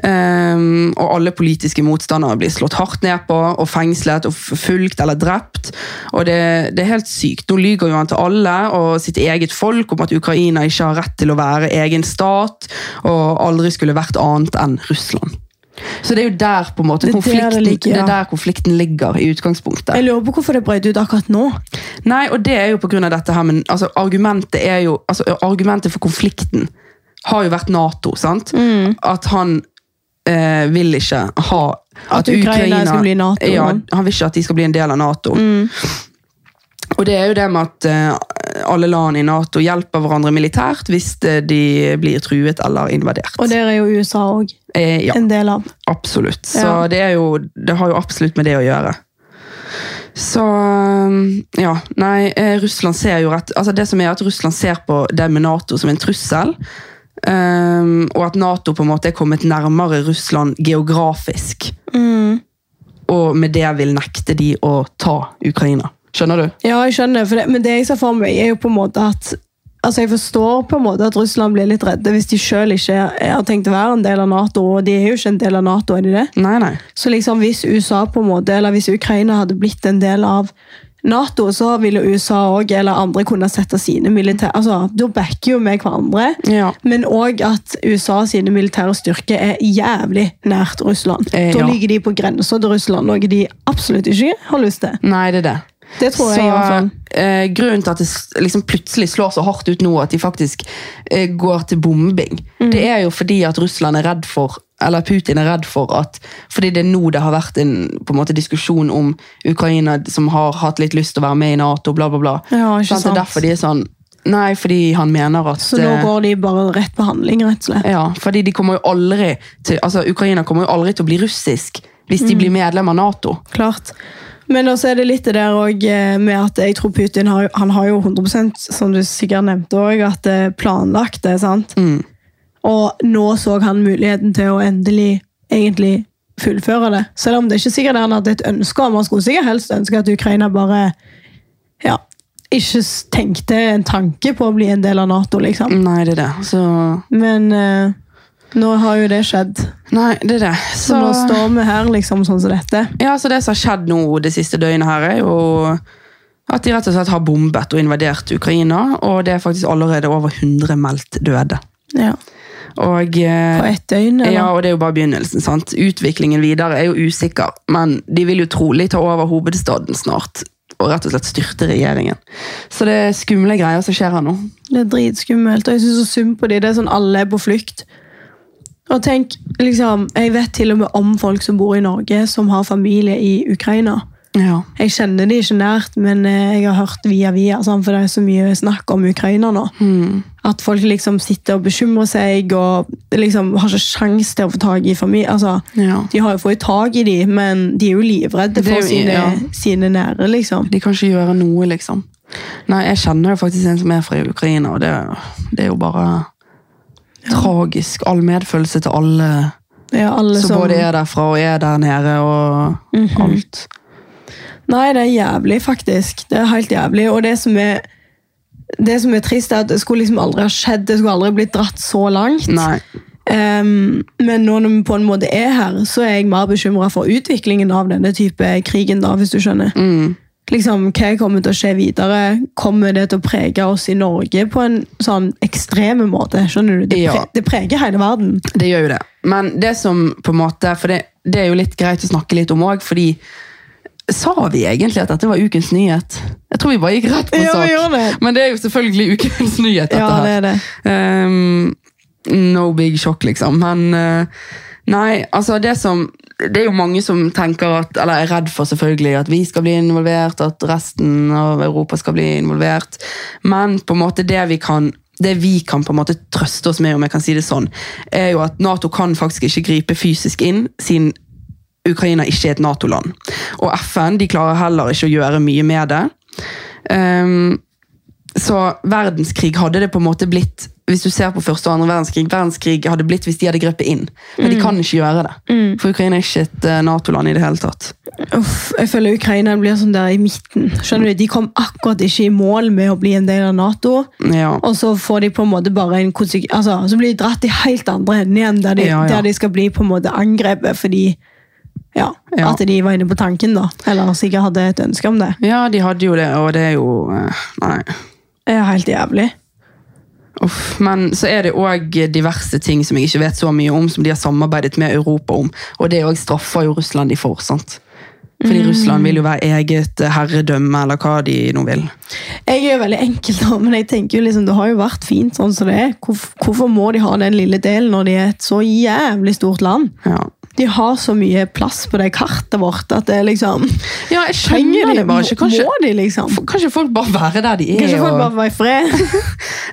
Ehm, og alle politiske motstandere blir slått hardt ned på og fengslet og forfulgt eller drept. Og det, det er helt sykt. Nå lyver jo han til alle og sitt eget folk om at Ukraina ikke har rett til å være egen stat og aldri skulle vært annet enn Russland. Så det er jo der på en måte Det er der det konflikten, ligger, ja. det er der konflikten ligger i utgangspunktet. Jeg lurer på hvorfor det brøt ut akkurat nå. Nei, og det er jo på grunn av dette her, men altså, argumentet er jo, altså, argumentet for konflikten har jo vært NATO, sant? Mm. At han eh, vil ikke ha At Ukraina skal bli NATO, Ja, da. Mm. han vil ikke at de skal bli en del av NATO. Og det er jo det med at eh, alle land i NATO hjelper hverandre militært hvis eh, de blir truet eller invadert. Og der er jo USA òg eh, ja. en del av. Absolutt. Så Ja. det, er jo, det har jo absolutt med det å gjøre. Så um, ja, nei, eh, Russland ser jo rett altså Det som er at Russland ser på det med Nato som en trussel. ehm, og at Nato på en måte er kommet nærmere Russland geografisk. Mm. Og med det vil nekte de å ta Ukraina. Skjønner du? Ja, jeg skjønner, for det, men det jeg ser for meg, er jo på en måte at Altså, Jeg forstår på en måte at Russland blir litt redde hvis de sjøl ikke er- har tenkt å være en del av Nato. og de er jo ikke en del av NATO, er de det? Nei, nei. Så liksom hvis USA på en måte, eller hvis Ukraina hadde blitt en del av Nato, så ville USA òg, eller andre, kunne sette sine militære Altså, da backer jo vi hverandre. Ja. Men òg at USA sine militære styrker er jævlig nært Russland. Eh, Da ja. ligger de på grensa til Russland, noe de absolutt ikke har lyst til. Nei, det er det. Det tror jeg så, i hvert fall. Eh, grunnen til at det s- liksom plutselig slår så hardt ut nå at de faktisk eh, går til bombing, Mm. det er jo fordi at Russland er redd for eller Putin er redd for at fordi det er nå det har vært en på en måte diskusjon om Ukraina som har hatt litt lyst til å være med i Nato, bla, bla, bla. Ja, ikke Sant? Det sant. er derfor de er sånn Nei, fordi han mener at Så nå eh, går de bare rett på handling, rett og slett. ja, fordi de kommer jo aldri til, altså Ukraina kommer jo aldri til å bli russisk hvis Mm. de blir medlem av Nato. Klart. Men også er det litt det der òg med at jeg tror Putin har, jo- han har jo 100 som du sikkert nevnte òg, at det er planlagt det. sant? Og nå så han muligheten til å endelig egentlig fullføre det. Selv om det er ikke sikkert han hadde et ønske om. Han skulle sikkert helst ønske at Ukraina bare ja, ikke s- tenkte en tanke på å bli en del av Nato, liksom. Nei, det er det. Så Men eh, nå har jo det skjedd. Nei, det er det. Så, Så nå står vi her liksom sånn som dette. Ja, så det som har skjedd nå det siste døgnet her, er jo at de rett og slett har bombet og invadert Ukraina, og det er faktisk allerede over 100 meldt døde. Ja. Og, eh, På ett døgn, eller? ja, og det er jo bare begynnelsen, sant? Utviklingen videre er jo usikker, men de vil jo trolig ta over hovedstaden snart, og rett og slett styrte regjeringen. Så det er skumle greier som skjer her nå. Det er dritskummelt, og jeg synes så synd på de. Det er sånn alle er på flukt. Og tenk, liksom, Jeg vet til og med om folk som bor i Norge, som har familie i Ukraina. Ja. Jeg kjenner de ikke nært, men eh, jeg har hørt via via, sant, for det er så mye snakk om Ukraina nå. Mm. At folk liksom sitter og bekymrer seg og liksom har ikke sjans til å få tak i familie. Altså, ja. de har jo fått tak i de, men de er jo livredde Det er for jo- sine, ja. sine nære, liksom. De kan ikke gjøre noe, liksom. Nei, jeg kjenner jo faktisk en som er fra Ukraina, og det, det er jo bare tragisk. All medfølelse til alle Ja, alle som som både er derfra og er der nede, og Mm. alt. Nei, det er jævlig, faktisk. Det er helt jævlig. Og det som er, det som er trist, er at det skulle liksom aldri ha skjedd. Det skulle aldri blitt dratt så langt. Nei. Ehm, men nå når vi på en måte er her, så er jeg mer bekymra for utviklingen av denne type krigen, da, hvis du skjønner. Mm. Liksom, Hva kommer til å skje videre? Kommer det til å prege oss i Norge på en sånn ekstrem måte? Skjønner du? Det, Ja. pre det preger hele verden. Det gjør jo det. Men det som på en måte For det, det er jo litt greit å snakke litt om òg, fordi Sa vi egentlig at dette var ukens nyhet? Jeg tror vi bare gikk rett på Ja, sak. vi gjorde det. Men det er jo selvfølgelig ukens nyhet, dette Ja, her. det er det. Ehm, no big shock, liksom. Men eh, nei, altså det som Det er jo mange som tenker at, eller er redd for selvfølgelig at vi skal bli involvert, at resten av Europa skal bli involvert. Men på en måte det vi kan det vi kan på en måte trøste oss med, om jeg kan si det sånn, er jo at Nato kan faktisk ikke gripe fysisk inn, siden Ukraina ikke er et Nato-land. Og FN de klarer heller ikke å gjøre mye med det. Ehm, så verdenskrig hadde det på en måte blitt hvis du ser på første og andre verdenskrig, verdenskrig hadde blitt hvis de hadde grepet inn. Men de kan ikke gjøre det. For Ukraina er ikke et eh, Nato-land i det hele tatt. Uff, jeg føler Ukraina blir sånn der i midten. Skjønner du? De kom akkurat ikke i mål med å bli en del av Nato. Ja. Og så får de på en måte bare en konsek- altså, Så blir de dratt i helt andre enden igjen, der de, Ja, ja. der de skal bli på en måte angrepet fordi ja, Ja. at de var inne på tanken, da. Eller sikkert hadde et ønske om det. ja, de hadde jo det, og det er jo eh, Nei. Det er helt jævlig. Uff. Men så er det òg diverse ting som jeg ikke vet så mye om, som de har samarbeidet med Europa om. Og det òg straffer jo Russland de for. sant? Fordi Russland vil jo være eget eh, herredømme, eller hva de nå vil. Jeg er jo veldig enkel, da, men jeg tenker jo liksom, det har jo vært fint sånn som det er. Hvorf- Hvorfor må de ha den lille delen når de er et så jævlig stort land? Ja, De har så mye plass på det kartet vårt at det er liksom ja jeg skjønner det bare ikke. Kanskje, Må de, liksom? kanskje folk bare være der de er. Kanskje folk og- bare var i fred?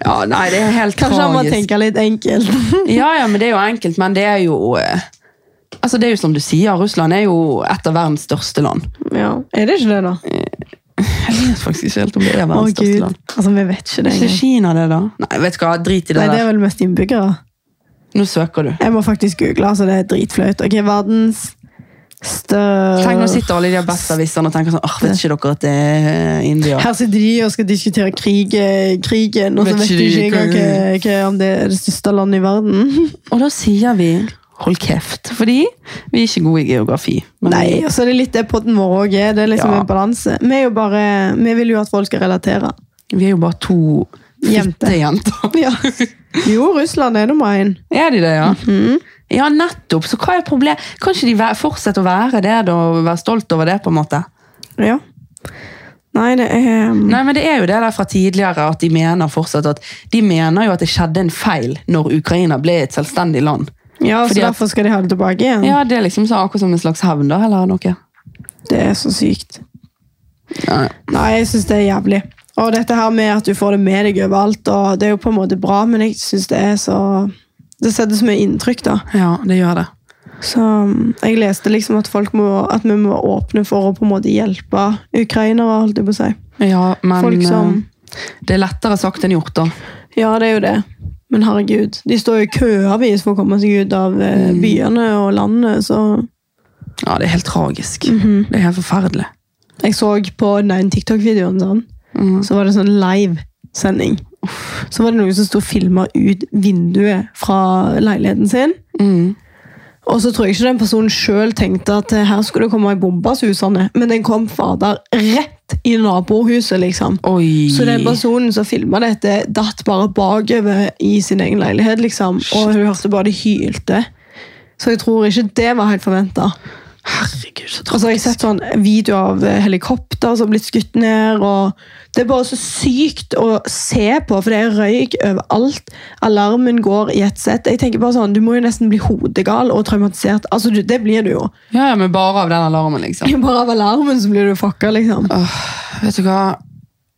Ja, nei, det er helt Kanskje han må tragisk. tenke litt enkelt? Ja, ja, men det er jo enkelt, men det er jo eh, Altså, det er jo som du sier, Russland er jo et av verdens største land. Ja. Er det ikke det, da? Jeg vet faktisk ikke helt om det er Å, verdens største gud. land. Altså, vi vet ikke det Er ikke engang. Kina det, da? Nei, vet du hva, drit i det Nei, det er der. vel mest innbyggere. Nå søker du. Jeg må faktisk google, altså. Det er dritflaut. Ok, verdens største Tenk, nå sitter alle i de her bestavisene og tenker sånn Åh, vet ikke dere at det er India? Her sitter de og skal diskutere krig, eh, krigen, og så Vet vet ikke de de ikke engang hva- hva- om det er det største landet i verden. Og da sier vi Hold kjeft, fordi vi er ikke gode i geografi. Men- Nei, og så er det litt det podden vår òg er. Det er liksom Ja. en balanse. Vi, er jo bare, vi vil jo at folk skal relatere. Vi er jo bare to Jenter. fittejenter. Ja. Jo, Russland er nummer én. Er de det, ja? Mhm. Ja, nettopp. Så hva er problemet? Kan ikke de væ- fortsette å være det da, og være stolt over det, på en måte? Ja. Nei, det er um, Nei, men det er jo det der fra tidligere at de mener fortsatt at de mener jo at det skjedde en feil når Ukraina ble et selvstendig land. Ja, så Fordi at- derfor skal de ha det tilbake igjen. Ja, det er liksom så akkurat som en slags hevn da, eller noe. Det er så sykt. Ja. Nei, jeg syns det er jævlig. Og dette her med at du får det med deg overalt, og det er jo på en måte bra, men jeg syns det er så Det setter så mye inntrykk, da. Ja, det gjør det. Så mm, jeg leste liksom at folk må, at vi må åpne for å på en måte hjelpe ukrainere, holdt jeg på å si. Ja, men Folk som- eh, det er lettere sagt enn gjort da. Ja, det er jo det. Men herregud, de står jo i køavis for å komme seg ut av eh, byene og landet, så Ja, det er helt tragisk. Mhm. Det er helt forferdelig. Jeg så på den TikTok-videoen, sånn, så var det sånn live-sending. Så var det noen som sto og filma ut vinduet fra leiligheten sin. Og så tror jeg ikke den personen sjøl tenkte at eh, her skulle det komme ei bombe, Susanne. Men den kom fader rett i nabohuset, liksom. Oi. Så den personen som filma dette, datt bare bakover i sin egen leilighet, liksom. Og hun hørte bare det hylte. Så jeg tror ikke det var helt forventa. Herregud, så Altså, jeg har tragisk. sett sånn video av eh, helikopter som har blitt skutt ned. og Det er bare så sykt å se på, for det er røyk overalt. Alarmen går i ett sett. Jeg tenker bare sånn, Du må jo nesten bli hodegal og traumatisert. Altså, du, Det blir du jo. Ja, ja, men bare av den alarmen, liksom. Bare av alarmen så blir du fucka, liksom. Åh, vet du hva?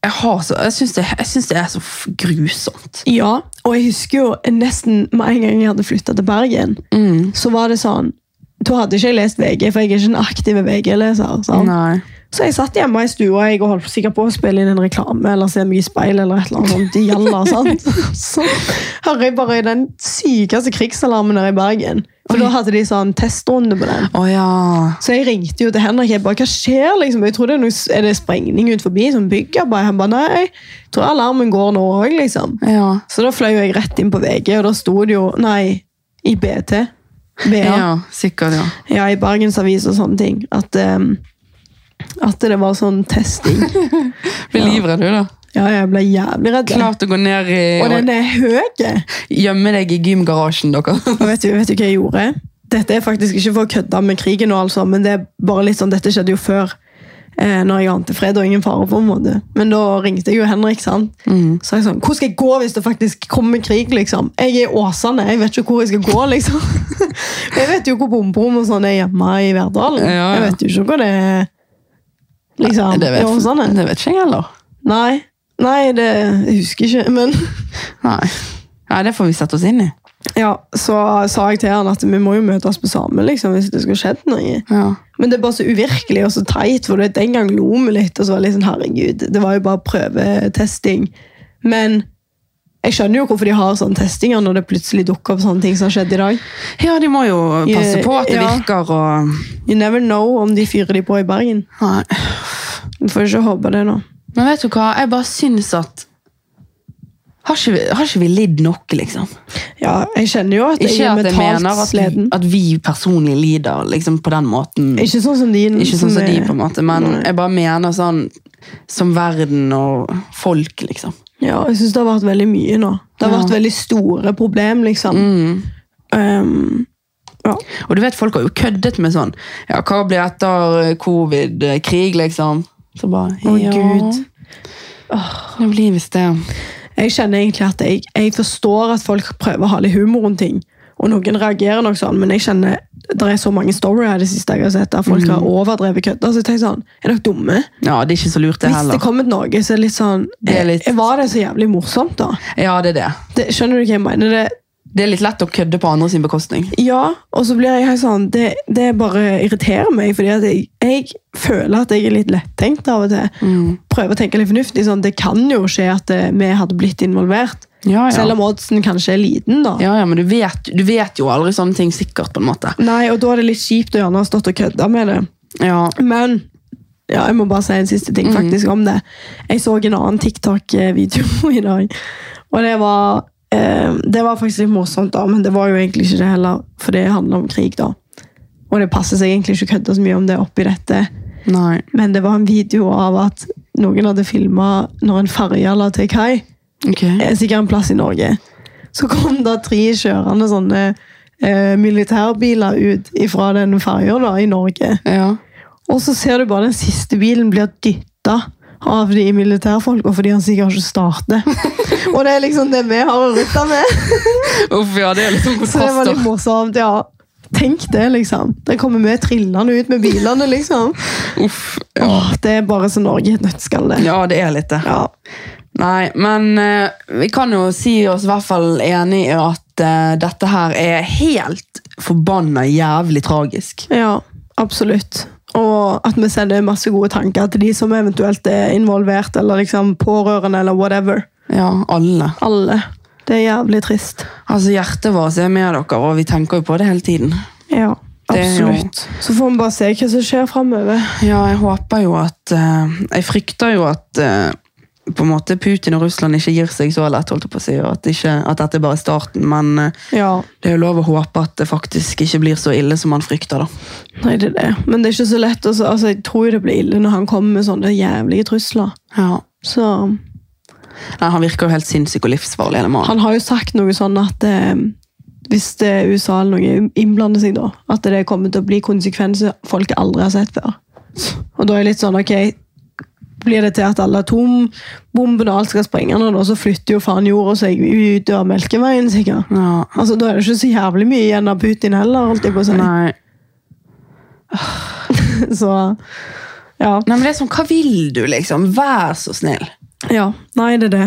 Jeg, har så- jeg syns det, jeg syns det er så f- grusomt. Ja, og jeg husker jo nesten med en gang jeg hadde flytta til Bergen, så var det sånn Da hadde ikke jeg lest VG, for jeg er ikke en aktiv VG-leser. sant? Nei. Så jeg satt hjemme i stua jeg og holdt sikkert på å spille inn en reklame eller se meg i speil eller et eller annet sånt. i Jalla, sant? Så hører jeg bare den sykeste krigsalarmen her i Bergen. For da hadde de sånn testrunde på den. Å ja. Så jeg ringte jo til Henrik. Jeg bare, hva skjer? liksom? Jeg tror det Er noe, er det sprengning ut forbi som bygger? Bare, han bare, nei, jeg tror alarmen går nå òg, liksom. Ja. Så da fløy jo jeg rett inn på VG, og da sto det jo Nei, i BT. BA. ja. Ja, sikkert, ja. i Bergens Avis og sånne ting. At, ehm, at det var sånn testing. Blir livredd, du, da. Ja, jeg ble jævlig redd. da. Klart å gå ned i Og den og er høy! gjemme deg i gymgarasjen, dere. Og vet du, vet du hva jeg gjorde? Dette er faktisk ikke for å kødde med krigen, og altså, men det er bare litt sånn, dette skjedde jo før. Eh, når jeg ante fred og ingen fare. på en måte. Men da ringte jeg jo Henrik. sant? Mm. Så sa jeg sånn, Hvor skal jeg gå hvis det faktisk kommer krig? liksom? Jeg er i Åsane, jeg vet ikke hvor jeg skal gå. liksom. jeg vet jo hvor bomberom og sånn er hjemme i Verdal. Ja, ja. Jeg vet jo ikke hvor det er liksom, det, vet, i Åsane. sånn det vet ikke jeg heller. Nei, Nei det jeg husker ikke. Men Nei. Nei, det får vi sette oss inn i. ja, så sa jeg til han at vi må jo møtes på samme liksom, hvis det skulle skjedd noe. Ja. Men det er bare så uvirkelig og så teit, for du vet, den gang lo vi litt, og så var det litt sånn, herregud, det var jo bare prøvetesting. Men jeg skjønner jo hvorfor de har sånne testinger når det plutselig dukker opp sånne ting som har skjedd i dag. ja, de må jo passe Ja, på at det ja. virker og You never know om de fyrer de på i Bergen. Nei. Vi får ikke håpe det nå. Men vet du hva, jeg bare syns at har ikke, vi- har ikke vi lidd nok, liksom? Ja, jeg kjenner jo at jeg Ikke er at jeg mener mentalt at vi, sleden. at vi personlig lider liksom, på den måten. Ikke sånn som de. Ikke sånn som de, er- på en måte, men Nei. jeg bare mener sånn som verden og folk, liksom. Ja, jeg synes det har vært veldig mye nå. Det har Ja. Mm. vært veldig store problem, liksom. Um, ja. Og du vet, folk har jo køddet med sånn Ja, hva blir etter eh, covid-krig, liksom? Så bare Å, Gud. Det blir visst det. Jeg kjenner egentlig at jeg, jeg forstår at folk prøver å ha litt humor rundt ting. Og noen reagerer nok sånn, men jeg kjenner det er så mange stories her det siste jeg har sett der folk Mm. har overdrevet kødda. Så jeg tenker sånn, er dere dumme? Ja, det er ikke så lurt, det Hvis det heller. kommet noe, så er det litt sånn Det er litt- eh, Var det så jævlig morsomt, da? Ja, det er det. Det, skjønner du hva jeg mener? Det, Det er litt lett å kødde på andre sin bekostning. ja, og så blir jeg helt sånn Det, det bare irriterer meg, fordi at jeg, jeg føler at jeg er litt lettenkt av og til. Mm. Prøver å tenke litt fornuftig. sånn, Det kan jo skje at eh, vi hadde blitt involvert. Ja, ja. Selv om oddsen kanskje er liten, da. Ja, ja, men du vet, du vet jo aldri sånne ting sikkert, på en måte. Nei, og da er det litt kjipt å gjerne ha stått og kødda med det. Ja, Men ja, jeg må bare si en siste ting faktisk om det. Jeg så en annen TikTok-video i dag, og det var eh, Det var faktisk litt morsomt, da, men det var jo egentlig ikke det heller, for det handler om krig, da. Og det passer seg egentlig ikke å kødde så mye om det oppi dette. Nei. Men det var en video av at noen hadde filma når en ferje la til kai. Ok. eh, Sikkert en plass i Norge. Så kom det tre kjørende sånne eh, militærbiler ut ifra den ferja da, i Norge. Ja. Og så ser du bare den siste bilen blir dytta av de militærfolka fordi han sikkert ikke starter. Og det er liksom det vi har å rutte med. Uff, ja, det er liksom Så det var litt kontraster. morsomt. ja. Tenk det, liksom. Der kommer vi trillende ut med bilene, liksom. Uff, ja. Åh, det er bare så Norge i et nøttskall, det. ja, det er litt det. Ja. Nei, men eh, vi kan jo si oss i hvert fall enig i at eh, dette her er helt forbanna jævlig tragisk. Ja, absolutt. Og at vi sender masse gode tanker til de som eventuelt er involvert, eller liksom pårørende, eller whatever. Ja, alle. Alle. Det er jævlig trist. Altså, Hjertet vårt er med dere, og vi tenker jo på det hele tiden. Ja, Det er jo- absolutt. Så får vi bare se hva som skjer framover. Ja, jeg håper jo at eh, Jeg frykter jo at eh, på en måte Putin og Russland ikke gir seg så lett, holdt jeg på å si, og at, ikke, at dette er bare starten. Men eh, Ja, det er jo lov å håpe at det faktisk ikke blir så ille som man frykter, da. nei, det er det. Men det er ikke så lett. Også, altså, jeg tror det blir ille når han kommer med sånne jævlige trusler. Ja. Så Nei, han virker jo helt sinnssyk og livsfarlig, hele mannen. Han har jo sagt noe sånn at eh, hvis det er USA eller noe innblander seg, da, at det kommer til å bli konsekvenser folk aldri har sett før. Og da er jeg litt sånn, ok, blir det til at alle atombombene og alt skal sprenge nå, da, så flytter jo faen jorda seg ut av Melkeveien, sikkert. Ja. Altså, Da er det ikke så jævlig mye igjen av Putin heller, holdt jeg på å si. Nei. Så, ja. Nei, men det er sånn, hva vil du, liksom? Vær så snill. ja. Nei, det er det.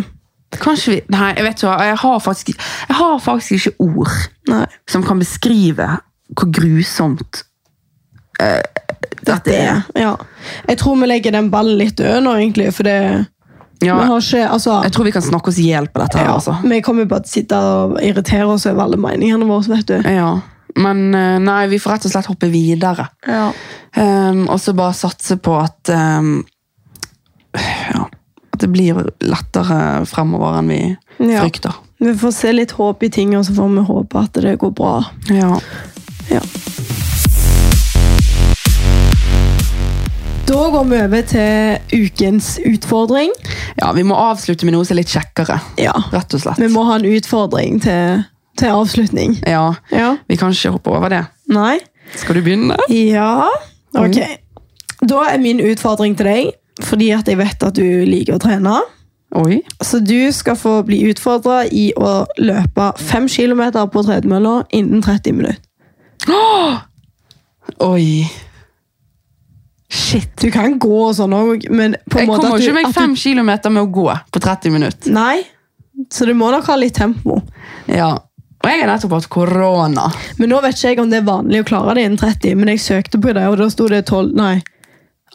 Kanskje vi Nei, jeg vet ikke, hva, jeg har faktisk, jeg har faktisk ikke ord Nei. som kan beskrive hvor grusomt eh, dette er. Ja. Jeg tror vi legger den ballen litt død nå, egentlig, for det Ja, Vi har ikke altså, jeg tror vi kan snakke oss i hjel på dette her, Ja, altså. Vi kommer bare til å sitte og irritere oss over alle meningene våre, vet du. Ja. Men eh, nei, vi får rett og slett hoppe videre. Ja. Um, og så bare satse på at um, ja, at det blir lettere fremover enn vi Ja. frykter. Vi får se litt håp i ting, og så får vi håpe at det går bra. Ja. Ja. Da går vi over til ukens utfordring. ja, vi må avslutte med noe som er litt kjekkere. Ja. Rett og slett. Vi må ha en utfordring til, til avslutning. Ja, Ja. vi kan ikke hoppe over det. Nei? Skal du begynne? Ja. Ok. Da er min utfordring til deg, fordi at jeg vet at du liker å trene. Oi. Så du skal få bli utfordra i å løpe 5 km på tredemølla innen 30 minutter. Oi. Shit. Du kan gå og sånn òg, men på en Jeg måte kommer at du, ikke meg at fem kilometer med å gå på 30 du, minutter. Nei, så du må nok ha litt tempo. Ja. Og jeg har nettopp hatt korona. Men nå vet ikke jeg om det er vanlig å klare det innen 30, men jeg søkte på det, og da sto det 12 Nei,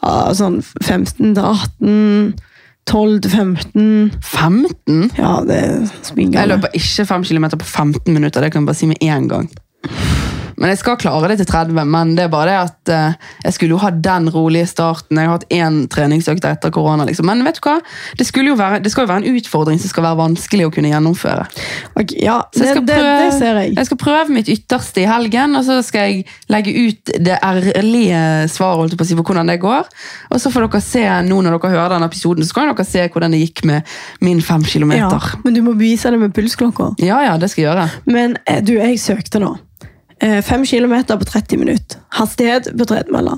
ah, sånn 15 til 18 12 til 15 15? Ja, det er Jeg spinngale. løper ikke 5 kilometer på 15 minutter. Det kan jeg bare si med én gang. Men jeg skal klare det til 30, men det er bare det at eh, jeg skulle jo ha den rolige starten. Jeg har hatt én treningsøkt etter korona, liksom. Men vet du hva? Det, skulle jo være, det skal jo være en utfordring som skal være vanskelig å kunne gjennomføre. Ok, ja, Så det, jeg skal, det, prøve, det ser jeg. jeg skal prøve mitt ytterste i helgen, og så skal jeg legge ut det ærlige svaret holdt jeg på å si, på hvordan det går. Og så får dere se nå når dere hører denne episoden, så kan dere se hvordan det gikk med min fem Ja, kilometer. Ja. men du må bevise det med pulsklokka. Ja, det skal jeg gjøre. Men eh, du, jeg søkte nå. 5 km på 30 minutter. Hastighet på tredemølla.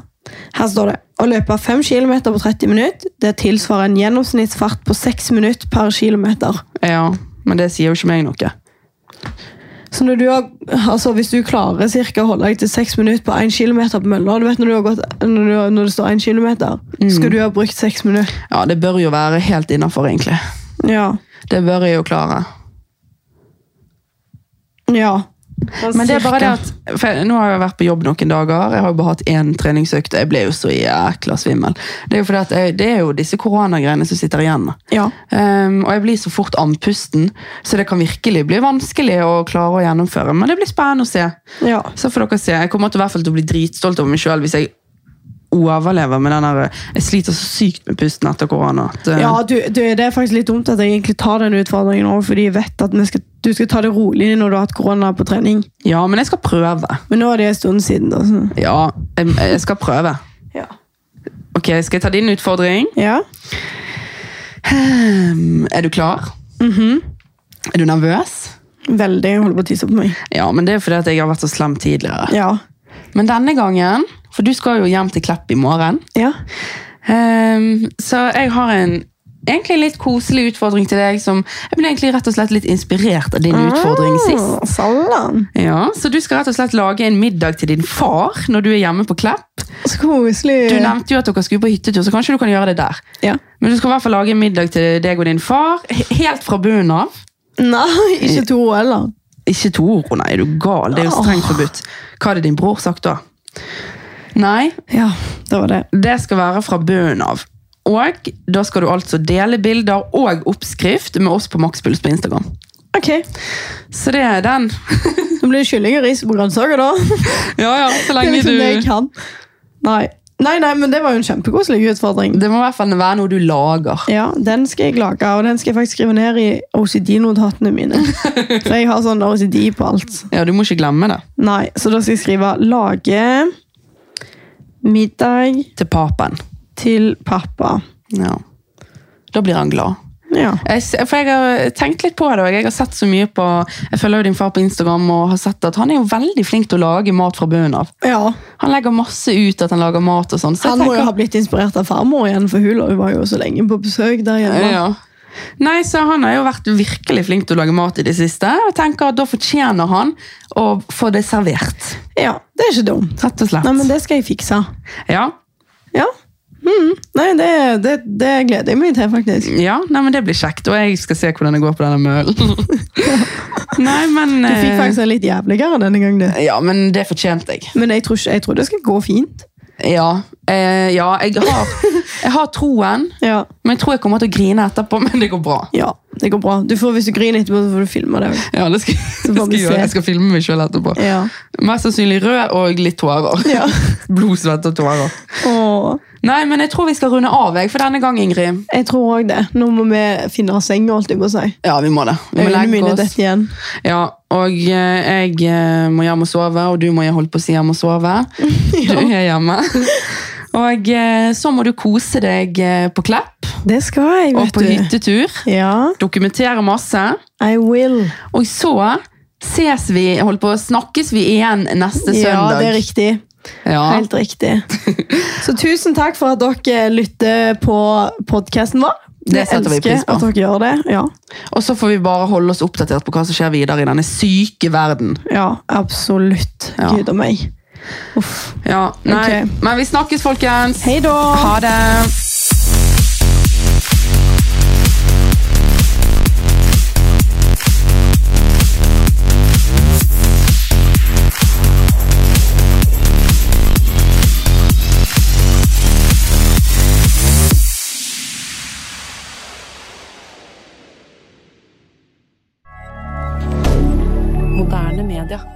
Her står det å løpe 5 km på 30 minutter det tilsvarer en gjennomsnittsfart på 6 minutter per kilometer. Ja, men det sier jo ikke meg noe. Så når du har, altså hvis du klarer cirka å holde deg til 6 minutter på 1 km på mølla du vet når, du har gått, når, du, har- når det står 1 km, Mm. skal du ha brukt 6 minutter. Ja, det bør jo være helt innafor, egentlig. Ja. Det bør jeg jo klare. ja. Men det er bare det Cirka. at for jeg- Nå har jeg vært på jobb noen dager. Jeg har jo bare hatt én treningsøkt. og Jeg ble jo så jækla svimmel. Det er jo, fordi at jeg, det er jo disse koronagreiene som sitter igjen. Ja. Ehm, og jeg blir så fort andpusten, så det kan virkelig bli vanskelig å klare å gjennomføre. Men det blir spennende å se. ja. Så får dere se. Jeg kommer til i hvert fall til å bli dritstolt over meg sjøl hvis jeg overlever med den der eh, Jeg sliter så sykt med pusten etter korona. At, eh, Ja, du, du, Det er faktisk litt dumt at jeg egentlig tar den utfordringen òg, fordi jeg vet at vi skal, du skal ta det rolig når du har hatt korona på trening. ja, men jeg skal prøve. Men nå er det en stund siden. da, så- Ja, jeg, jeg skal prøve. Ja. Ok, Skal jeg ta din utfordring? ja. Ehm, Er du klar? Mhm. Er du nervøs? Veldig. Jeg holder på å tisse på meg. Ja, men det er fordi at jeg har vært så slem tidligere. Ja. Men denne gangen, for du skal jo hjem til Klepp i morgen, Ja. Ehm, så jeg har en egentlig litt koselig utfordring til deg som jeg ble egentlig rett og slett litt inspirert av din utfordring sist. Ah, Salan. Ja, Så du skal rett og slett lage en middag til din far når du er hjemme på Klepp. Så koselig. Du nevnte jo at dere skulle på hyttetur, så kanskje du kan gjøre det der. ja. Men du skal i hvert fall lage en middag til deg og din far, he- helt fra bunnen av. Nei, ikke to heller. Ikke to ord, nei, er du gal? Det er jo strengt forbudt. Hva hadde din bror sagt da? Nei, Ja, det var det. det skal være fra bunnen av. Og da skal du altså dele bilder og oppskrift med oss på Makspuls på Instagram. Ok, Så det er den. Nå blir det kylling og ris på grønnsaker, da. Ja, ja, Det så er liksom lenge det jeg du... kan. Nei. nei, nei, men det var jo en kjempekoselig utfordring. Det må i hvert fall være noe du lager. Ja, Den skal jeg lage, og den skal jeg faktisk skrive ned i OCD-notatene mine. For jeg har sånn OCD på alt. Ja, du må ikke glemme det. Nei, Så da skal jeg skrive 'lage middag Til papen. til pappa'. Ja. Da blir han glad. Ja. Jeg, s- for jeg har tenkt litt på det, og jeg har sett så mye på Jeg følger jo din far på Instagram og har sett at han er jo veldig flink til å lage mat fra bunnen av. ja. Han legger masse ut at han lager mat og sånn. så jeg Han må jo tenker- ha blitt inspirert av farmor igjen, for hun var jo så lenge på besøk der hjemme. Ja. Nei, så Han har jo vært virkelig flink til å lage mat i det siste. og jeg tenker at Da fortjener han å få det servert. Ja, Det er ikke dumt. Rett og slett. Nei, men det skal jeg fikse. Ja, Ja. Mm. Nei, det, det, det gleder jeg meg til, faktisk. ja nei, men det blir kjekt, og jeg skal se hvordan det går på denne mølen. nei, men Du fikk eh, faktisk en litt jævligere denne gangen. du. Ja, men det fortjente jeg. Men jeg tror, ikke, jeg tror det skal gå fint. Ja, eh, ja jeg, har, jeg har troen, Ja. men jeg tror jeg kommer til å grine etterpå. Men det går bra. ja, det går bra. Du får, hvis du griner etterpå, så får du filme det. også. Ja, det skal, Så det får skal vi jeg, gjøre. se. jeg skal filme meg sjøl etterpå. Ja. Mest sannsynlig rød og litt tårer. Ja. Blod, svette og tårer. Åh, Nei, men jeg tror vi skal runde av jeg, for denne gang, Ingrid. jeg tror òg det. Nå må vi finne senga, holdt jeg på å si. Ja, vi må det. Vi må Øynene legge mine oss. detter igjen. Ja, og eh, jeg eh, må hjem og sove, og du må jeg holde på å si hjem og sove. Du er hjemme. Og eh, så må du kose deg eh, på Klepp Det skal jeg, og vet på du. hyttetur. Ja, Dokumentere masse. I will. Og så ses vi, holdt på, å snakkes vi igjen neste Ja, søndag. det er riktig. Ja. Helt riktig. Så tusen takk for at dere lytter på podkasten vår. Det setter vi elsker pris på. At dere gjør det. Ja, Og så får vi bare holde oss oppdatert på hva som skjer videre i denne syke verden. ja absolutt. Ja. Gud og meg. Uff. Ja, nei. Ok. Men vi snakkes, folkens. Hei da! Ha det. Moderne media.